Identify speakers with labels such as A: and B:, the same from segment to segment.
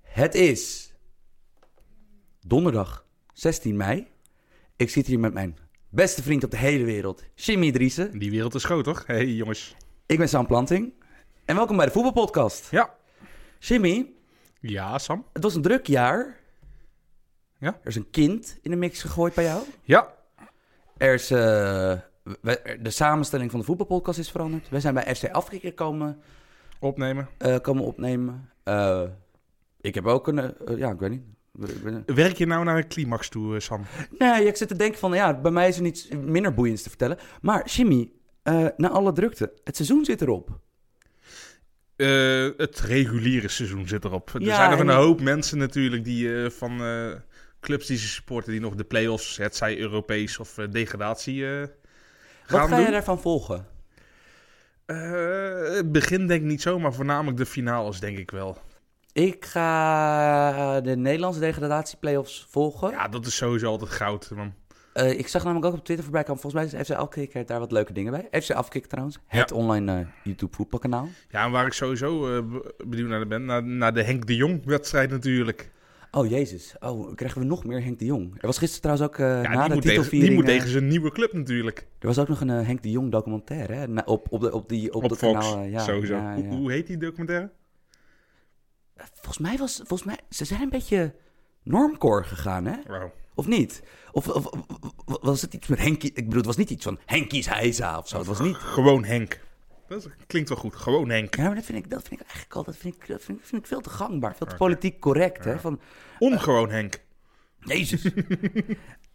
A: Het is donderdag 16 mei. Ik zit hier met mijn beste vriend op de hele wereld, Jimmy Driessen.
B: Die wereld is groot, toch? Hé, hey, jongens.
A: Ik ben Sam Planting. En welkom bij de Voetbalpodcast.
B: Ja.
A: Jimmy,
B: Ja, Sam.
A: het was een druk jaar.
B: Ja.
A: Er is een kind in de mix gegooid bij jou.
B: Ja.
A: Er is, eh, we- er- de samenstelling van de Voetbalpodcast is veranderd. Wij zijn bij FC Afrika komen,
B: Opnemen.
A: eh, komen opnemen. Eh, ik heb ook een... eh, ja, ik weet niet. Ik ben-
B: Werk je nou naar een climax toe, eh, Sam?
A: Nee, ik zit te denken van, ja, bij mij is er niets minder boeiends te vertellen. Maar Jimmy, eh, na alle drukte, het seizoen zit erop.
B: Eh, het reguliere seizoen zit erop. Er
A: Ja,
B: zijn nog
A: en-
B: een hoop mensen natuurlijk die eh, van eh, clubs die ze supporten... die nog de play-offs, het zij Europees of eh, degradatie, eh, gaan
A: Wat ga
B: doen.
A: je daarvan volgen?
B: Eh, het begin denk ik niet zo, maar voornamelijk de finales denk ik wel.
A: Ik ga de Nederlandse degradatieplayoffs volgen.
B: Ja, dat is sowieso altijd goud, man.
A: Eh, ik zag namelijk ook op Twitter voorbij komen. Volgens mij is FC Afkikker daar wat leuke dingen bij. FC Afkikker trouwens, het online eh, YouTube voetbalkanaal.
B: Ja, en waar ik sowieso eh, be- benieuwd naar ben, naar, naar de Henk de Jong-wedstrijd natuurlijk.
A: Oh jezus, oh, krijgen we nog meer Henk de Jong. Er was gisteren trouwens ook eh
B: Ja,
A: na
B: die,
A: de
B: moet tegen,
A: titelviering...
B: die moet
A: eh,
B: tegen zijn nieuwe club natuurlijk.
A: er was ook nog een eh, Henk de Jong documentaire hè, na- op, op, de, op, die, op,
B: Op,
A: dat
B: Fox,
A: kanaal. eh, ja,
B: sowieso.
A: ja,
B: Hoe,
A: ja.
B: hoe heet die documentaire?
A: Volgens mij was, volgens mij, ze zijn een beetje normcore gegaan, hè?
B: Wauw.
A: Of niet? Of, of- of- of- was het iets met Henkie? Ik bedoel, het was niet iets van Henkie's Heisa of zo. Het was niet.
B: Gewoon Henk. Dat is- klinkt wel goed. Gewoon Henk.
A: Ja, maar dat vind ik, dat vind ik eigenlijk al, dat vind ik, dat vind, ik- vind ik veel te gangbaar, veel te politiek correct, hè? Van,
B: Ongewoon Henk.
A: jezus.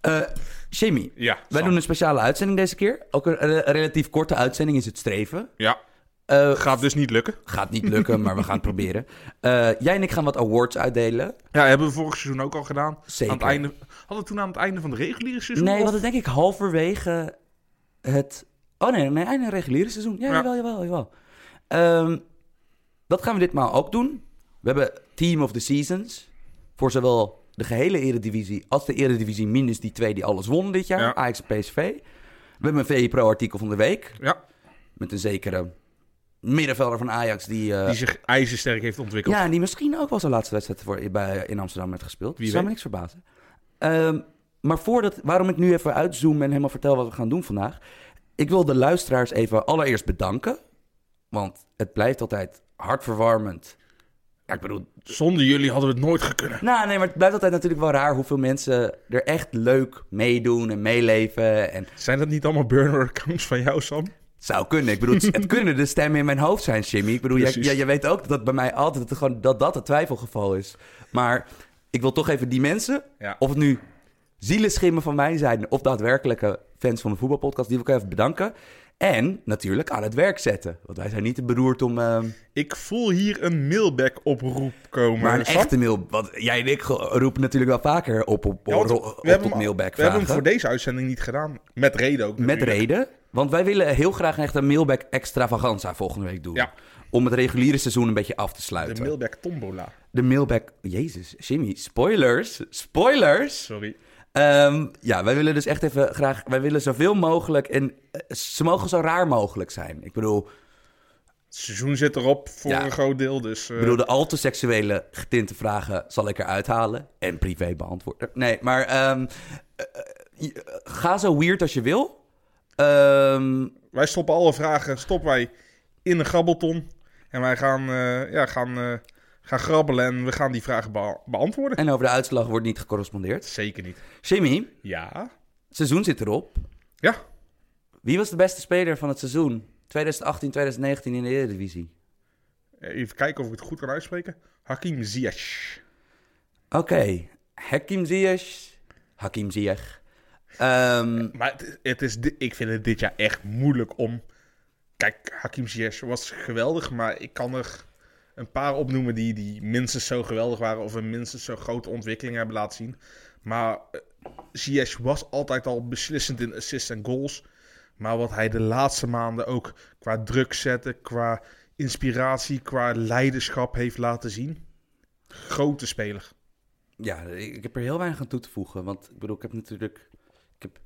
A: Eh Jimmy,
B: Ja.
A: wij
B: Sam.
A: doen een speciale uitzending deze keer. Ook een, eh, relatief korte uitzending is het streven.
B: Ja.
A: Eh,
B: Gaat dus niet lukken.
A: gaat niet lukken, maar we gaan het proberen. Eh, jij en ik gaan wat awards uitdelen.
B: Ja, hebben we vorig seizoen ook al gedaan.
A: Zeker.
B: Aan het einde, hadden we toen aan het einde van het reguliere seizoen?
A: Nee,
B: of-
A: we hadden denk ik halverwege het... Oh nee, nee, einde reguliere seizoen. Ja,
B: Ja.
A: jawel, jawel, jawel. Ehm, dat gaan we ditmaal ook doen. We hebben Team of the Seasons. Voor zowel de gehele eredivisie als de eredivisie minus die twee die alles wonnen dit jaar.
B: Ja.
A: Ajax en PSV. We hebben een VE-pro-artikel van de week.
B: Ja,
A: Met een zekere middenvelder van Ajax die... eh,
B: die zich ijzersterk heeft ontwikkeld.
A: ja, en die misschien ook wel zijn laatste wedstrijd voor, bij, in Amsterdam heeft gespeeld.
B: Wie
A: Zou me
B: weet.
A: niks verbazen. Ehm, maar voordat, waarom ik nu even uitzoom en helemaal vertel wat we gaan doen vandaag. Ik wil de luisteraars even allereerst bedanken. Want het blijft altijd hartverwarmend. Ja, ik bedoel,
B: Zonder jullie hadden we het nooit gekunnen.
A: nou nee, maar het blijft altijd natuurlijk wel raar hoeveel mensen er echt leuk meedoen en meeleven. En het
B: Zijn dat niet allemaal burner-accounts van jou, Sam?
A: zou kunnen. Ik bedoel, het- het kunnen de stemmen in mijn hoofd zijn, Jimmy. Ik bedoel, jij,
B: Precies.
A: jij- jij weet ook dat dat bij mij altijd het gewoon, dat, dat het twijfelgeval is. Maar ik wil toch even die mensen
B: Ja.
A: Of het nu zielenschimmen van mij zijn... of daadwerkelijke fans van de voetbalpodcast... die wil ik even bedanken. En natuurlijk aan het werk zetten. Want wij zijn niet te beroerd om... eh,
B: Ik voel hier een mailback-oproep komen,
A: maar een
B: Sam.
A: echte mail... Want jij en ik ge- roepen natuurlijk wel vaker op, op,
B: Ja,
A: op,
B: want
A: op,
B: we hebben
A: tot
B: hem-
A: mailback
B: We hebben hem
A: vragen.
B: voor deze uitzending niet gedaan. Met reden ook
A: Met
B: natuurlijk.
A: reden. Want wij willen heel graag echt een mailback extravaganza volgende week doen.
B: Ja.
A: Om het reguliere seizoen een beetje af te sluiten.
B: De mailback-tombola.
A: De mailback... Jezus, Jimmy. Spoilers. Spoilers.
B: Sorry.
A: Ehm, ja, wij willen dus echt even graag... Wij willen zoveel mogelijk en eh, ze mogen zo raar mogelijk zijn. Ik bedoel,
B: Het seizoen zit erop voor
A: Ja.
B: een groot deel, dus... eh,
A: ik bedoel de al te seksuele getinte vragen zal ik eruit halen. En privé beantwoorden. Nee, maar ehm, eh, eh, ga zo weird als je wil. Ehm,
B: Wij stoppen alle vragen, stoppen wij in een grabbelton. En wij gaan, eh, ja, gaan, eh, gaan grabbelen en we gaan die vragen bea- beantwoorden.
A: en over de uitslag wordt niet gecorrespondeerd.
B: Zeker niet.
A: Jimmy, het
B: Ja.
A: seizoen zit erop.
B: Ja.
A: Wie was de beste speler van het seizoen 2018, 2019 in de Eredivisie?
B: Even kijken of ik het goed kan uitspreken. Hakim Ziyech.
A: Oké, Hakim Ziyech. Hakim Ziyech. Ehm,
B: Maar het, het is, di- ik vind het dit jaar echt moeilijk om... Kijk, Hakim Ziyech was geweldig, maar ik kan er een paar opnoemen die, die minstens zo geweldig waren... of een minstens zo grote ontwikkeling hebben laten zien. Maar eh, Ziyech was altijd al beslissend in assists en goals. Maar wat hij de laatste maanden ook qua druk zetten, qua inspiratie, qua leiderschap heeft laten zien... Grote speler.
A: Ja, ik ik heb er heel weinig aan toe te voegen. Want ik bedoel, ik heb natuurlijk. Ik heb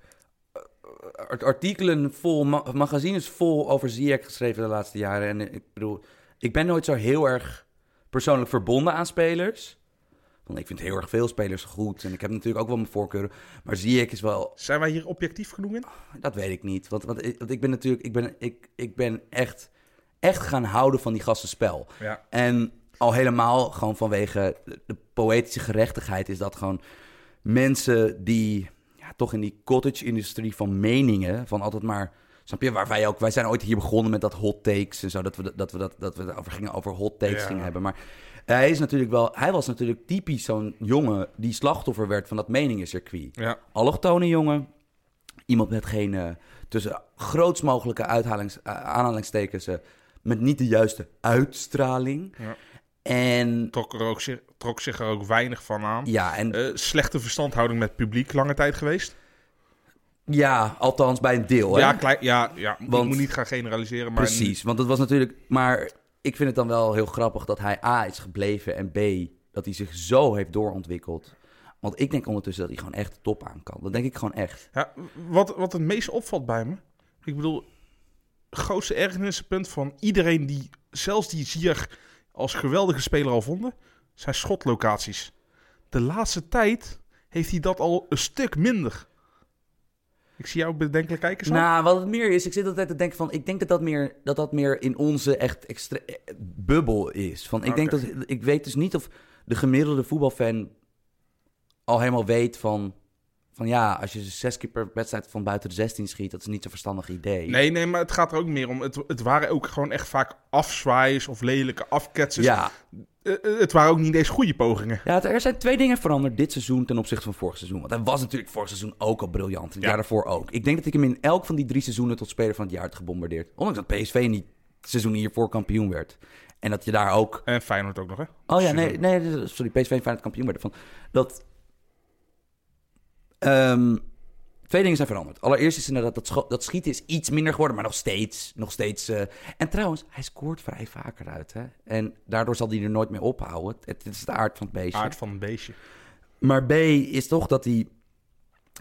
A: eh, art- artikelen vol, ma- magazines vol over Ziyech geschreven de laatste jaren. En eh, ik bedoel, ik ben nooit zo heel erg persoonlijk verbonden aan spelers. Want ik vind heel erg veel spelers goed. En ik heb natuurlijk ook wel mijn voorkeuren. Maar Ziyech is wel...
B: Zijn wij hier objectief genoeg in?
A: Dat weet ik niet. Want, want, ik, want ik ben natuurlijk... Ik ben, ik, ik ben echt, echt gaan houden van die gastenspel.
B: Ja.
A: En al helemaal gewoon vanwege de poëtische gerechtigheid is dat gewoon mensen die ja, toch in die cottage-industrie van meningen, van altijd maar, snap je, waar wij ook, wij zijn ooit hier begonnen met dat hot takes en zo, dat we dat, dat we dat, dat we het over gingen over hot takes
B: Ja.
A: gingen hebben, maar hij is natuurlijk wel, hij was natuurlijk typisch zo'n jongen die slachtoffer werd van dat meningencircuit.
B: Ja.
A: Allochtone jongen, iemand met geen, eh, tussen grootst mogelijke uithalings, eh, aanhalingstekens, eh, met niet de juiste uitstraling.
B: Ja.
A: En
B: Trok, er ook, zich- trok zich er ook weinig van aan.
A: ja, en
B: Eh, slechte verstandhouding met publiek lange tijd geweest.
A: ja, althans bij een deel.
B: Ja,
A: Oh, hè?
B: klein, ja, ja.
A: Want-
B: ik moet niet gaan generaliseren, maar...
A: precies. Want dat was natuurlijk. Maar ik vind het dan wel heel grappig dat hij A is gebleven en B dat hij zich zo heeft doorontwikkeld. Want ik denk ondertussen dat hij gewoon echt de top aan kan. Dat denk ik gewoon echt.
B: Ja, wat, wat het meest opvalt bij me, ik bedoel, grootste ergernispunt van iedereen die, zelfs die Zier als geweldige speler al vonden, zijn schotlocaties. De laatste tijd heeft hij dat al een stuk minder. Ik zie jou bedenkelijk kijken, Sam.
A: Nou, wat het meer is, ik zit altijd te denken van, ik denk dat dat meer, dat dat meer in onze echt extre- eh, bubbel is. Van, ik, denk
B: Oké.
A: dat, ik weet dus niet of de gemiddelde voetbalfan al helemaal weet van, van ja, als je zes keer per wedstrijd van buiten de 16 schiet, dat is niet zo'n verstandig idee.
B: Nee, nee, maar het gaat er ook meer om. Het, het waren ook gewoon echt vaak afzwaaiers of lelijke afketsers.
A: ja.
B: Eh, eh, het waren ook niet eens goede pogingen.
A: ja, het- er zijn twee dingen veranderd dit seizoen ten opzichte van vorig seizoen. Want hij was natuurlijk vorig seizoen ook al briljant. en Het
B: Ja.
A: jaar daarvoor ook. Ik denk dat ik hem in elk van die drie seizoenen tot speler van het jaar had gebombardeerd. Ondanks dat PSV niet het seizoen hiervoor kampioen werd. En dat je daar ook
B: En Feyenoord ook nog, hè?
A: Oh ja,
B: Super.
A: nee, nee, sorry, PSV en Feyenoord kampioen werden van. Dat. Ehm, twee dingen zijn veranderd. Allereerst is inderdaad dat, scho- dat schieten is iets minder geworden, maar nog steeds, nog steeds. eh, en trouwens, hij scoort vrij vaker uit, hè? En daardoor zal hij er nooit mee ophouden. Het, het is de aard van het beestje.
B: Aard van een beestje.
A: Maar B is toch dat hij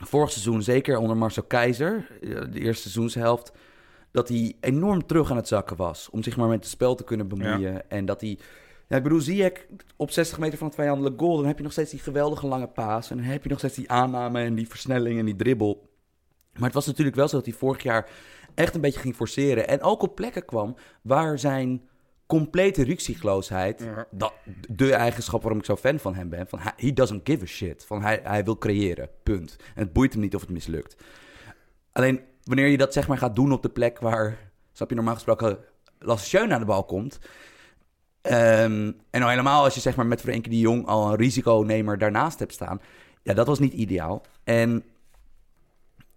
A: vorig seizoen, zeker onder Marcel Keizer, eh, de eerste seizoenshelft, dat hij enorm terug aan het zakken was. Om zich maar met het spel te kunnen bemoeien. En dat hij. Ja, ik bedoel, zie ik op 60 meter van het vijandelijk goal, dan heb je nog steeds die geweldige lange paas. En dan heb je nog steeds die aanname en die versnelling en die dribbel. Maar het was natuurlijk wel zo dat hij vorig jaar echt een beetje ging forceren. En ook op plekken kwam waar zijn complete ruksigloosheid,
B: Ja.
A: dat, de eigenschap waarom ik zo fan van hem ben, van hij- he doesn't give a shit. Van hij, hij wil creëren, punt. En het boeit hem niet of het mislukt. Alleen wanneer je dat zeg maar gaat doen op de plek waar, snap je, normaal gesproken Lasse Schön aan de bal komt. ehm, en al helemaal als je zeg maar met Frenkie de Jong al een risiconemer daarnaast hebt staan. Ja, dat was niet ideaal. En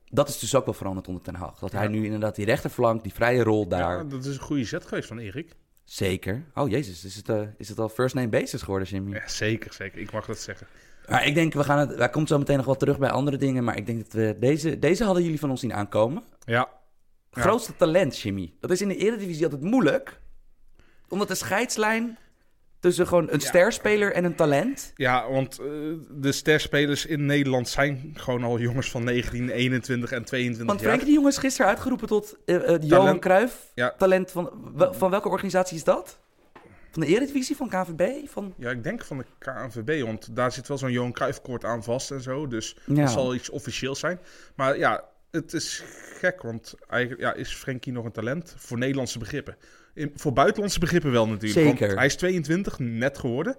A: dat is dus ook wel veranderd onder Ten Hag. Dat hij
B: Ja.
A: nu inderdaad die rechterflank, die vrije rol daar.
B: Ja, dat is een goede zet geweest van Erik.
A: Zeker. Oh jezus, is het, eh, is het al first name basis geworden, Jimmy?
B: Ja, zeker, zeker. Ik mag dat zeggen.
A: Maar ik denk, we gaan het, wij komt zo meteen nog wel terug bij andere dingen. Maar ik denk dat we deze, deze hadden jullie van ons zien aankomen.
B: Ja. Ja.
A: Grootste talent, Jimmy. Dat is in de Eredivisie altijd moeilijk. Omdat de scheidslijn tussen gewoon een
B: Ja.
A: sterspeler en een talent...
B: Ja, want eh, de sterspelers in Nederland zijn gewoon al jongens van 19, 21 en 22
A: Want
B: jaar.
A: Frenkie de Jong is gisteren uitgeroepen tot eh, eh, Johan Cruijff.
B: Ja.
A: Talent van, wel- van welke organisatie is dat? Van de Eredivisie? Van KVB? Van...
B: Ja, ik denk van de KNVB, want daar zit wel zo'n Johan Cruijffkoord aan vast en zo. Dus
A: Ja.
B: dat zal iets officieels zijn. Maar ja, het is gek, want eigenlijk ja, is Frenkie nog een talent voor Nederlandse begrippen. In, voor buitenlandse begrippen wel natuurlijk. want
A: Zeker.
B: hij is 22, net geworden.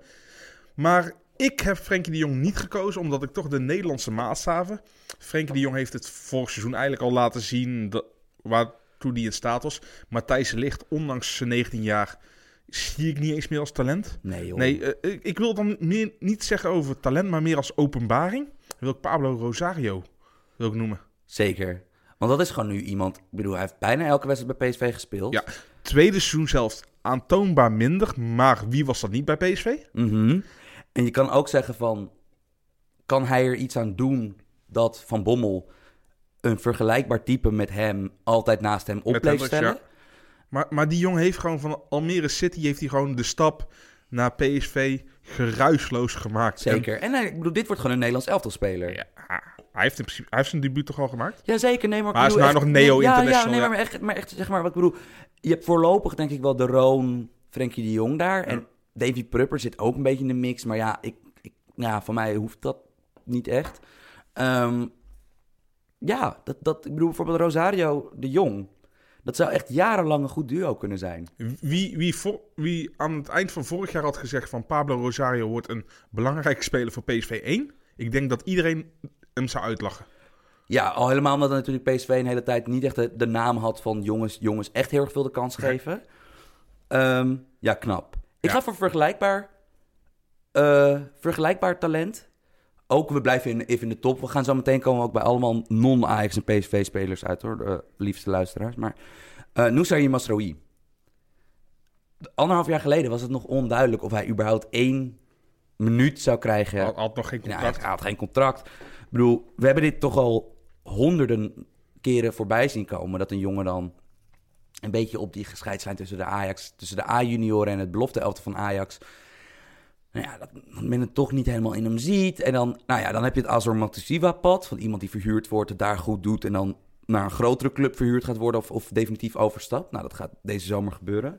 B: Maar ik heb Frenkie de Jong niet gekozen, omdat ik toch de Nederlandse maatstaven... Frenkie de Jong heeft het vorig seizoen eigenlijk al laten zien dat, waartoe hij in staat was. Matthijs de Ligt, ondanks zijn 19 jaar, zie ik niet eens meer als talent.
A: Nee, joh.
B: Nee, eh, ik, ik wil dan meer, niet zeggen over talent, maar meer als openbaring. Dan wil ik Pablo Rosario wil ik noemen.
A: Zeker. Want dat is gewoon nu iemand... Ik bedoel, hij heeft bijna elke wedstrijd bij PSV gespeeld.
B: Ja. Tweede seizoen zelfs aantoonbaar minder, maar wie was dat niet bij PSV?
A: Mhm. En je kan ook zeggen van... Kan hij er iets aan doen dat Van Bommel... een vergelijkbaar type met hem... altijd naast hem op
B: Met
A: bleef
B: Hendricks,
A: stellen?
B: ja. Maar, maar die jongen heeft gewoon van Almere City heeft hij gewoon de stap naar PSV geruisloos gemaakt.
A: Zeker. En hij, ik bedoel, dit wordt gewoon een Nederlands elftalspeler.
B: En- ja, hij heeft in principe hij heeft zijn debuut toch al gemaakt?
A: Ja, zeker. Nee, maar, ik
B: Maar hij is
A: bedoel
B: nou
A: echt-
B: nog Neo
A: nee, ja, Ja,
B: International,
A: nee,
B: ja.
A: maar echt, maar echt, zeg maar, wat ik bedoel... Je hebt voorlopig denk ik wel de Roon, Frenkie de Jong daar. En Davy Prupper zit ook een beetje in de mix. Maar ja, ik, ik ja, van mij hoeft dat niet echt. Ehm, ja, dat, dat, ik bedoel bijvoorbeeld Rosario de Jong. Dat zou echt jarenlang een goed duo kunnen zijn.
B: Wie, wie, vo- wie aan het eind van vorig jaar had gezegd van Pablo Rosario wordt een belangrijke speler voor PSV 1. Ik denk dat iedereen hem zou uitlachen.
A: Ja, al helemaal omdat natuurlijk PSV een hele tijd niet echt de, de naam had van jongens, jongens echt heel erg veel de kans geven. Ehm, ja, knap. Ik
B: Ja.
A: ga voor vergelijkbaar, eh, vergelijkbaar talent. Ook, we blijven in, even in de top. We gaan zo meteen komen ook bij allemaal non-Ajax en PSV-spelers uit, hoor. de liefste luisteraars. Maar eh Noussair Masraoui. Anderhalf jaar geleden was het nog onduidelijk of hij überhaupt één minuut zou krijgen.
B: Had, had nog geen
A: Ja,
B: contact.
A: Nou, hij had geen contract. Ik bedoel, we hebben dit toch al honderden keren voorbij zien komen. Dat een jongen dan een beetje op die gescheidslijn tussen de Ajax, tussen de A-junioren en het belofte elfte van Ajax. Nou ja, dat men het toch niet helemaal in hem ziet. En dan, nou ja, dan heb je het Azor Matusiwa-pad van iemand die verhuurd wordt, het daar goed doet en dan naar een grotere club verhuurd gaat worden of, of definitief overstapt. Nou, dat gaat deze zomer gebeuren.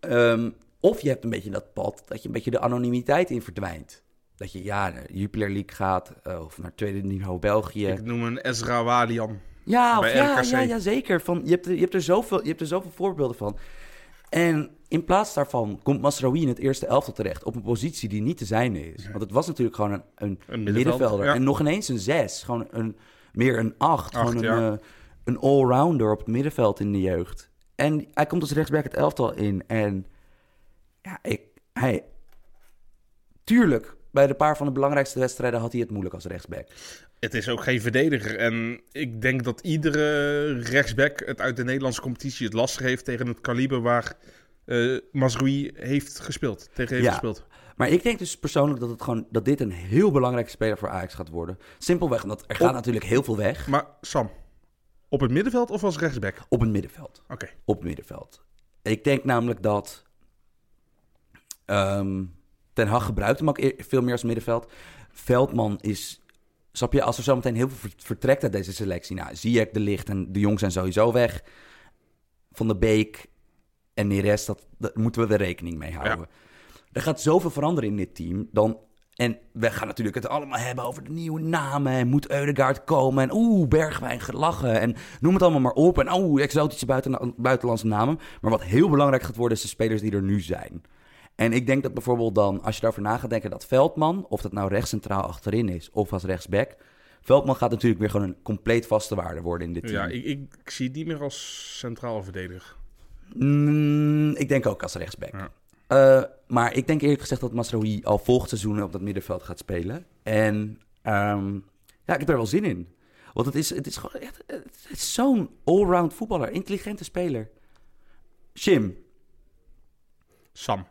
A: Ehm, of je hebt een beetje dat pad dat je een beetje de anonimiteit in verdwijnt. Dat je ja, naar Jupiler League gaat eh, of naar tweede niveau België.
B: Ik noem een Ezra Walian.
A: Ja, of
B: Bij
A: ja,
B: RKC.
A: ja, ja, zeker. Van, je, hebt er, je, hebt er zoveel, je hebt er zoveel voorbeelden van. En in plaats daarvan komt Masraoui in het eerste elftal terecht... op een positie die niet te zijn is. Want het was natuurlijk gewoon een, een
B: middenvelder,
A: middenvelder.
B: ja.
A: En nog ineens een zes. Gewoon een, meer een acht.
B: Acht,
A: gewoon een,
B: ja.
A: eh, een allrounder op het middenveld in de jeugd. En hij komt als rechtsback het elftal in. En ja, ik, hij... Tuurlijk, bij de paar van de belangrijkste wedstrijden... had hij het moeilijk als rechtsback.
B: Het is ook geen verdediger. En ik denk dat iedere rechtsback het uit de Nederlandse competitie het lastig heeft tegen het kaliber waar eh Mazrui heeft gespeeld. Tegen heeft
A: Ja.
B: gespeeld.
A: Maar ik denk dus persoonlijk dat, het gewoon, dat dit een heel belangrijke speler voor Ajax gaat worden. Simpelweg omdat er gaat
B: Op-
A: natuurlijk heel veel weg
B: Maar Sam, op het middenveld of als rechtsback? Oké.
A: op het middenveld. Op het middenveld. Ik denk namelijk dat ehm, Ten Hag gebruikt hem ook e- veel meer als middenveld. Veldman is, snap je, als er zometeen heel veel ver- vertrekt uit deze selectie. Nou, Ziyech, De Licht en De Jong zijn sowieso weg. Van de Beek en Neres, dat, daar moeten we er rekening mee houden. Er gaat zoveel veranderen in dit team. Dan, en we gaan natuurlijk het allemaal hebben over de nieuwe namen. En moet Eudegaard komen? En oeh, Bergwijn gelachen. En noem het allemaal maar op. En oeh, exotische buiten, buitenlandse namen. Maar wat heel belangrijk gaat worden, is de spelers die er nu zijn. En ik denk dat bijvoorbeeld dan, als je daarover na gaat denken, dat Veldman, of dat nou rechtscentraal achterin is of als rechtsback. Veldman gaat natuurlijk weer gewoon een compleet vaste waarde worden in dit team.
B: Ja, ik, ik zie het niet meer als centraal verdediger.
A: Mm, ik denk ook als rechtsback.
B: Ja.
A: Eh, maar ik denk eerlijk gezegd dat Masraoui al volgend seizoen op dat middenveld gaat spelen. En ehm, ja, ik heb er wel zin in. Want het is, het is gewoon echt het is zo'n allround voetballer. Intelligente speler. Jim,
B: Sam.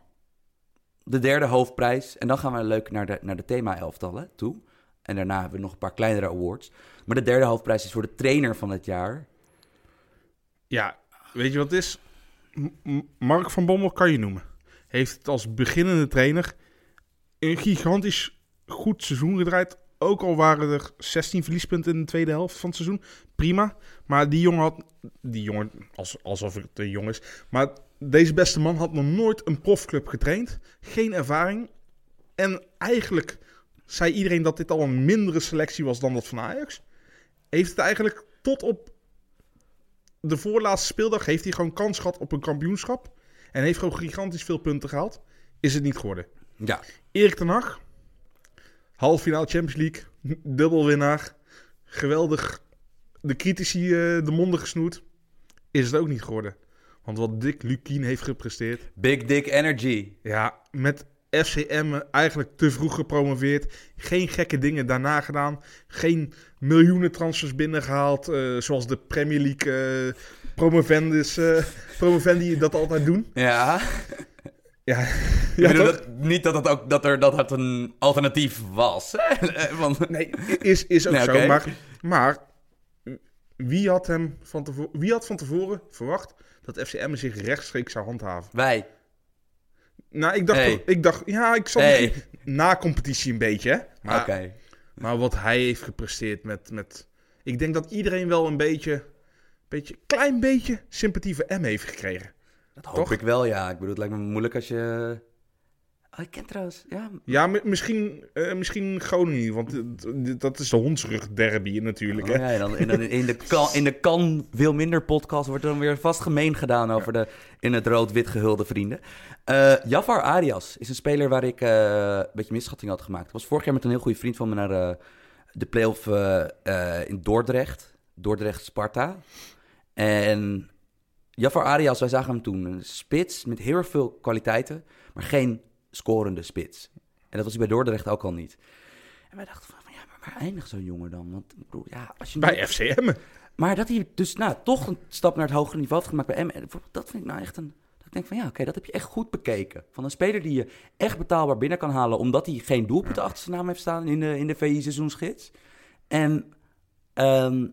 A: de derde hoofdprijs. En dan gaan we leuk naar de, naar de thema-elftallen toe. En daarna hebben we nog een paar kleinere awards. Maar de derde hoofdprijs is voor de trainer van het jaar.
B: Ja, weet je wat het is? M- M- Mark van Bommel kan je noemen. Heeft het als beginnende trainer een gigantisch goed seizoen gedraaid. Ook al waren er 16 verliespunten in de tweede helft van het seizoen. Prima. Maar die jongen had... Die jongen, als, alsof het een jong is. Maar deze beste man had nog nooit een profclub getraind. Geen ervaring. En eigenlijk zei iedereen dat dit al een mindere selectie was dan dat van Ajax. Heeft het eigenlijk tot op de voorlaatste speeldag heeft hij gewoon kans gehad op een kampioenschap. En heeft gewoon gigantisch veel punten gehaald. Is het niet geworden.
A: Ja,
B: Erik ten Hag. Half finale Champions League. Dubbelwinnaar. Geweldig. De critici eh, de monden gesnoerd. Is het ook niet geworden. Want wat Dick Lukien heeft gepresteerd.
A: Big Dick Energy.
B: Ja, met FCM eigenlijk te vroeg gepromoveerd. Geen gekke dingen daarna gedaan. Geen miljoenen transfers binnengehaald. eh, zoals de Premier League eh, promovendus, eh, promovendi dat altijd doen.
A: Ja.
B: Ja,
A: Ik
B: ja
A: bedoel,
B: toch?
A: dat- niet dat, het ook, dat, er, dat het een alternatief was. hè? Eh, Want,
B: Nee, is, is ook
A: Nee,
B: zo.
A: oké.
B: Maar, maar wie, had hem van tevoren, wie had van tevoren verwacht dat FCM zich rechtstreeks zou handhaven?
A: Wij.
B: Nou, ik dacht,
A: Hey.
B: ik dacht ja, ik zal
A: Hey. Ah.
B: misschien na competitie een beetje. hè. Maar
A: Oké.
B: Maar wat hij heeft gepresteerd met, met... Ik denk dat iedereen wel een beetje... beetje klein beetje sympathie voor M heeft gekregen.
A: Dat hoop
B: toch?
A: ik wel, ja. Ik bedoel, het lijkt me moeilijk als je Oh, ik ken trouwens, ja.
B: Ja, mi- misschien, eh, misschien Groningen, want dit- dat is de hondsrug derby natuurlijk.
A: Oh,
B: hè?
A: ja, en dan, en dan in, de kan, in de kan veel minder podcast wordt dan weer vast gemeen gedaan over de in het rood-wit gehulde vrienden. Eh Jafar Arias is een speler waar ik eh, een beetje misschatting had gemaakt. Ik was vorig jaar met een heel goede vriend van me naar eh, de playoff eh eh, in Dordrecht. Dordrecht-Sparta. En Jafar Arias, wij zagen hem toen. Een spits met heel erg veel kwaliteiten, maar geen scorende spits. En dat was hij bij Dordrecht ook al niet. En wij dachten van, ja, maar waar eindigt zo'n jongen dan? Want ik bedoel, ja, als je
B: Bij FCM.
A: maar dat hij dus nou, toch een stap naar het hogere niveau heeft gemaakt bij M. Dat vind ik nou echt een... Dat ik denk van ja, oké, dat heb je echt goed bekeken. Van een speler die je echt betaalbaar binnen kan halen... omdat hij geen doelpunt achter zijn naam heeft staan in de, in de VI-seizoensgids. En ehm,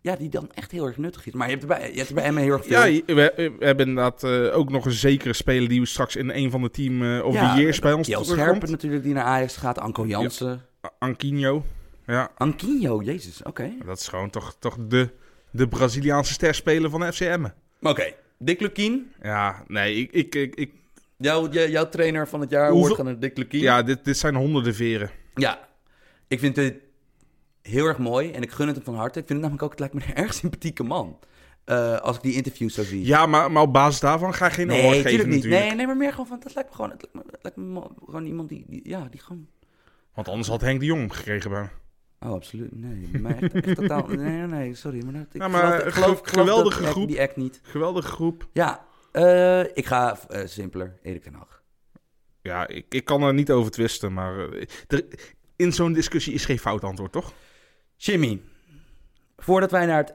A: ja, die dan echt heel erg nuttig is. Maar je hebt er bij, je hebt er bij Emmen heel erg veel...
B: Ja, je- we, we hebben inderdaad eh, ook nog een zekere speler die we straks in een van de team eh of
A: Ja,
B: the years bij ons
A: Jel
B: terugkomt.
A: Scherpen natuurlijk, die naar Ajax gaat. Anko Jansen.
B: A- Anquinho. Ja,
A: Anquinho, jezus, oké.
B: dat is gewoon toch, toch de, de Braziliaanse sterspeler van FCM.
A: Oké, Dick Lukien.
B: Ja, nee, ik, ik, ik, ik-
A: Jouw, jou- jouw trainer van het jaar
B: Hoeveel-
A: wordt gaan Dick Lukien.
B: ja dit, dit zijn honderden veren.
A: Ja, ik vind dit heel erg mooi en ik gun het hem van harte. Ik vind het namelijk ook, het lijkt me een erg sympathieke man. Eh, als ik die interviews zo zie.
B: Ja, maar, maar op basis daarvan ga je geen award
A: nee,
B: geven
A: natuurlijk niet.
B: natuurlijk.
A: Nee, nee, maar meer gewoon van, dat lijkt me gewoon, het lijkt me, het lijkt me mo- gewoon iemand die, die- ja, die gewoon...
B: Want anders had Henk de Jong hem gekregen bij hem.
A: Oh, absoluut. Nee, maar echt, echt totaal... Nee, nee, nee, sorry. Maar, dat, ik
B: Ja, maar
A: geloof, ik
B: ge-
A: geloof, ik geloof
B: geweldige
A: dat act-
B: groep.
A: die act niet.
B: Geweldige groep.
A: Ja, eh, ik ga eh, simpeler. Erik ten Hag.
B: Ja, ik, ik kan er niet over twisten, maar eh, er, in zo'n discussie is geen fout antwoord, toch?
A: Jimmy, voordat wij naar het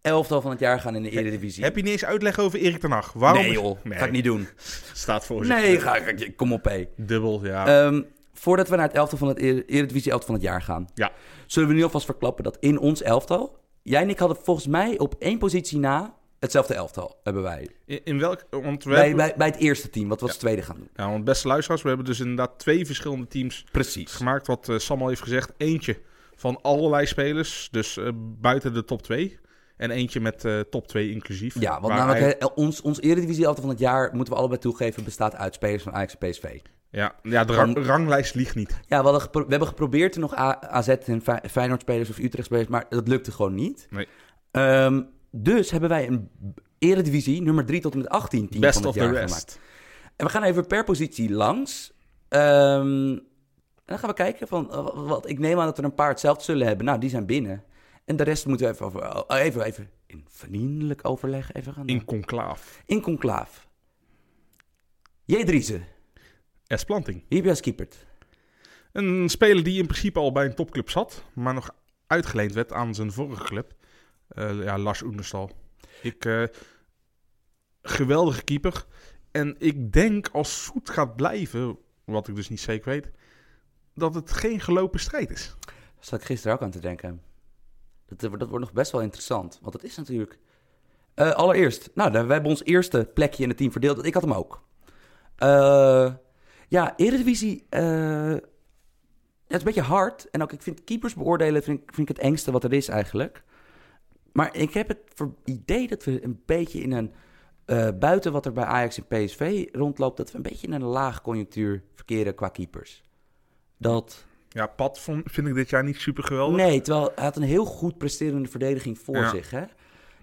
A: elftal van het jaar gaan in de Eredivisie...
B: Heb je niet eens uitleg over Erik ten Hag? Waarom?
A: Nee joh,
B: Nee.
A: ga ik niet doen.
B: Staat voor zich.
A: Nee, ga ik... Kom op, hé.
B: Dubbel, ja.
A: Ehm, voordat we naar het elftal van het Er- Eredivisie elftal van het jaar gaan,
B: ja.
A: zullen we nu alvast verklappen dat in ons elftal, jij en ik hadden volgens mij op één positie na hetzelfde elftal hebben wij.
B: In, in welk... Want we
A: Bij,
B: hebben-
A: bij, bij het eerste team, wat we als tweede gaan doen.
B: Ja, want beste luisteraars, we hebben dus inderdaad twee verschillende teams
A: Precies.
B: gemaakt. Wat eh, Sam al heeft gezegd. Eentje van allerlei spelers, dus eh, buiten de top 2. En eentje met eh, top 2 inclusief.
A: Ja, want
B: Waar
A: namelijk
B: hij-
A: eh, ons, ons Eredivisie elftal van het jaar, moeten we allebei toegeven, bestaat uit spelers van Ajax en PSV.
B: Ja, ja de rang-
A: Van-
B: ranglijst liegt niet.
A: Ja, we, hadden gepro- we hebben geprobeerd er nog A- AZ en Fey- Feyenoord-spelers of Utrecht-spelers, maar dat lukte gewoon niet.
B: Nee.
A: Ehm, dus hebben wij een Eredivisie, nummer 3 tot en met 18 team
B: Best
A: van
B: of
A: het
B: the
A: jaar gemaakt.
B: rest.
A: En we gaan even per positie langs. Ehm, en dan gaan we kijken van, eh, wa- wat, ik neem aan dat er een paar hetzelfde zullen hebben. Nou, die zijn binnen. En de rest moeten we even, over, oh, even, even in vriendelijk overleg even gaan doen.
B: In conclaaf.
A: In conclaaf. J. Driessen,
B: Esplanting.
A: wie heb je als keeper?
B: Een speler die in principe al bij een topclub zat, maar nog uitgeleend werd aan zijn vorige club. Eh, ja, Lars Oenerstal. Ik, eh, geweldige keeper. En ik denk als Soet gaat blijven, wat ik dus niet zeker weet, dat het geen gelopen strijd is.
A: Daar zat ik gisteren ook aan te denken. Dat, eh, dat wordt nog best wel interessant, want dat is natuurlijk... Eh, allereerst, nou, we hebben ons eerste plekje in het team verdeeld. Ik had hem ook. Eh, ja, Eredivisie... eh het is een beetje hard. En ook, ik vind keepers beoordelen vind ik, vind ik het engste wat er is eigenlijk. Maar ik heb het ver- idee dat we een beetje in een... eh, buiten wat er bij Ajax en PSV rondloopt... dat we een beetje in een laag conjunctuur verkeren qua keepers. Dat...
B: Ja, Pat vond- vind ik dit jaar niet super geweldig.
A: Nee, terwijl hij had een heel goed presterende verdediging voor
B: Ja.
A: zich. Hè?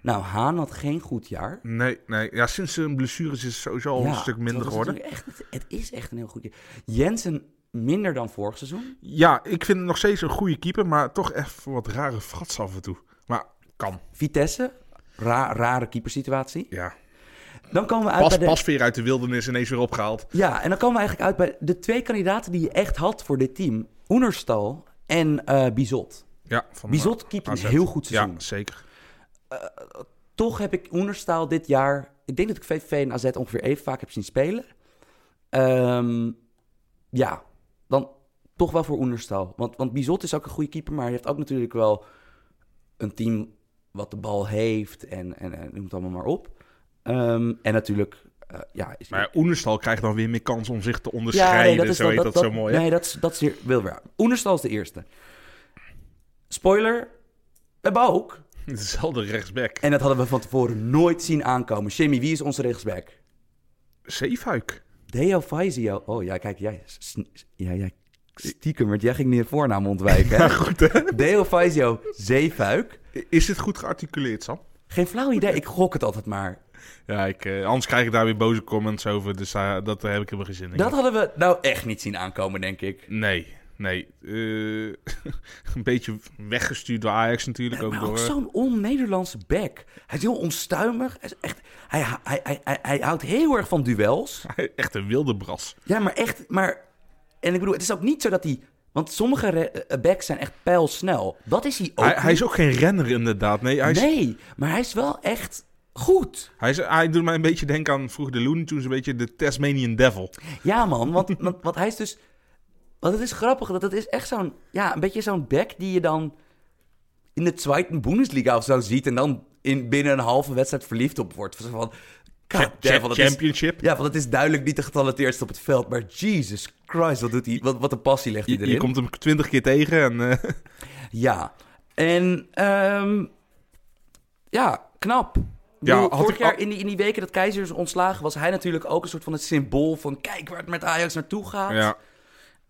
A: Nou, Haan had geen goed jaar.
B: Nee, nee. Ja, sinds zijn blessures is het sowieso al Oh, een
A: Ja,
B: stuk
A: terwijl
B: minder
A: dat is
B: geworden.
A: natuurlijk Echt, het is echt een heel goed jaar. Jensen minder dan vorig seizoen.
B: Ja, ik vind hem nog steeds een goede keeper, maar toch even wat rare frats af en toe. Maar kan,
A: Vitesse, ra- rare keepersituatie.
B: ja.
A: Dan komen we uit
B: Pas,
A: bij de...
B: pas weer uit de wildernis ineens weer opgehaald.
A: Ja, en dan komen we eigenlijk uit bij de twee kandidaten die je echt had voor dit team. Oenerstal en eh Bizot.
B: Ja, van
A: Bizot keept een
B: AZ.
A: heel goed
B: Ja,
A: seizoen.
B: zeker.
A: toch heb ik Oenerstaal dit jaar... Ik denk dat ik VVV en AZ ongeveer even vaak heb zien spelen. Ehm, ja, dan toch wel voor Oenerstaal. Want, want Bizot is ook een goede keeper, maar hij heeft ook natuurlijk wel een team wat de bal heeft en, en, en noem het allemaal maar op. Ehm, en natuurlijk, eh, ja... Is
B: Maar ja, Oenerstal krijgt dan weer meer kans om zich te
A: ja,
B: onderscheiden.
A: nee, dat is
B: zo
A: dan-
B: heet dat, zo mooi. hè?
A: Nee, dat is, dat is hier, wil weer. Oenerstal is de eerste. Spoiler, we hebben ook...
B: Hetzelfde rechtsback.
A: En dat hadden we van tevoren nooit zien aankomen. Jimmy, wie is onze rechtsback?
B: Zeefuik.
A: Deo Faizio. Oh ja, kijk, jij, sn- ja, jij stiekem, want jij ging niet de voornaam ontwijken.
B: Maar
A: hè?
B: goed, hè?
A: Deo Faizio, zeefuik.
B: Is dit goed gearticuleerd, Sam?
A: Geen flauw idee, ik gok het altijd maar.
B: Ja, ik, eh, anders krijg ik daar weer boze comments over, dus daar- dat daar heb ik helemaal geen zin in.
A: Dat hadden we nou echt niet zien aankomen, denk ik.
B: Nee, nee. Eh, een beetje weggestuurd door Ajax natuurlijk ook
A: Maar
B: door... eh,
A: ook Nou, zo'n on-Nederlandse bek. Hij is heel onstuimig. Hij, is echt, hij, hij, hij, hij, hij houdt heel erg van duels.
B: Echt een wilde bras.
A: Ja, maar echt, maar... En ik bedoel, het is ook niet zo dat hij... Want sommige re- eh, backs zijn echt pijlsnel. Dat is hij ook
B: Hij, hij
A: niet.
B: is ook geen renner inderdaad. Nee, hij, is-
A: Nee, maar hij is wel echt goed.
B: hij, is, hij doet mij een beetje denken aan vroeger de Looney Tunes, een beetje de Tasmanian Devil.
A: Ja, man, want, want, want hij is dus... Want het is grappig, dat het is echt zo'n... Ja, een beetje zo'n back die je dan in de Zweite Bundesliga of zo ziet... en dan in, binnen een halve wedstrijd verliefd op wordt. Zo Van, God devil, dat is,
B: Championship.
A: ja, want het is duidelijk niet de getalenteerdste op het veld... maar Jesus Christ, wat, doet hij, wat, wat een passie legt hij
B: Je,
A: erin.
B: je komt hem twintig keer tegen en eh,
A: Ja. En ehm, ja, knap.
B: Ja,
A: Ja,
B: had
A: Vorig
B: ik
A: jaar
B: al-
A: in die, in die weken dat Keizers ontslagen was, hij natuurlijk ook een soort van het symbool van kijk waar het met Ajax naartoe gaat.
B: ja.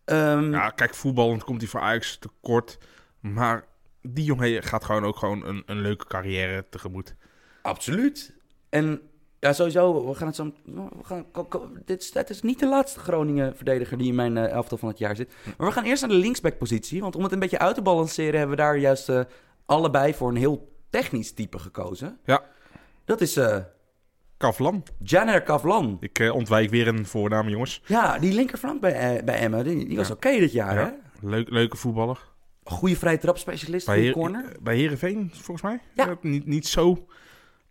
A: Ehm,
B: ja, kijk, voetballend komt hij voor Ajax tekort. Maar die jongen gaat gewoon ook gewoon een, een leuke carrière tegemoet.
A: Absoluut. En ja, sowieso, we gaan het zo. We gaan, ko- ko- dit, is, dit is niet de laatste Groningen-verdediger die in mijn eh, elftal van het jaar zit. Maar we gaan eerst naar de linksback-positie. Want om het een beetje uit te balanceren, hebben we daar juist eh, allebei voor een heel technisch type gekozen.
B: Ja.
A: Dat is eh
B: Kavlan.
A: Janer Kavlan.
B: Ik eh, ontwijk weer een voornaam, jongens.
A: Ja, die linkerflank bij, eh, bij Emmen, die, die was oké dit jaar, Ah, hè?
B: Leuk, leuke voetballer.
A: Goede vrije trapspecialist,
B: Bij,
A: goede
B: Heer,
A: corner.
B: bij Heerenveen, volgens mij.
A: Ja.
B: Eh, Niet, niet zo.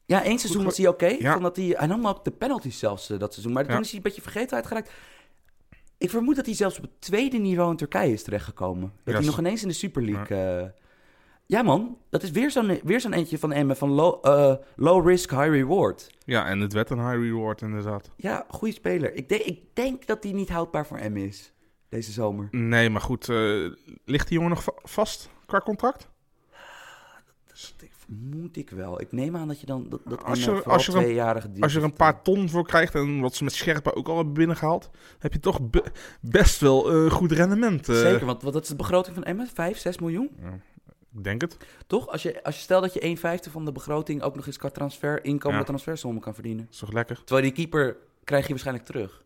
A: Ja, één seizoen was hij oké.
B: Ja.
A: omdat hij, hij nam ook de penalties zelfs eh, dat seizoen. Maar
B: Ja.
A: toen is hij een beetje vergeten uitgeraakt. Ik vermoed dat hij zelfs op het tweede niveau in Turkije is terechtgekomen. Dat
B: Ja,
A: hij
B: s-
A: nog ineens in de Super League... eh, ja man, dat is weer zo'n, weer zo'n eentje van Emmen van low, eh, low risk, high reward.
B: Ja, en het werd een high reward, inderdaad.
A: Ja, goede speler. Ik, denk- ik denk dat hij niet houdbaar voor Emmen is deze zomer.
B: Nee, maar goed. eh, ligt die jongen nog va- vast qua contract?
A: Dat vermoed ik wel. Ik neem aan dat je dan dat, dat
B: Als je-
A: Emmen vooral
B: als je er een-
A: tweejarige deals
B: Als je er een
A: heeft.
B: paar ton voor krijgt en wat ze met Scherpen ook al hebben binnengehaald, heb je toch be- best wel eh, goed rendement. eh.
A: Zeker, want, want dat is de begroting van Emmen, 5, 6 miljoen.
B: Ik denk het.
A: Toch? Als je, als je stelt dat je 1,50 van de begroting ook nog eens qua transfer, inkomen
B: Ja.
A: transfersommen kan verdienen.
B: Is toch lekker?
A: Terwijl die keeper krijg je waarschijnlijk terug.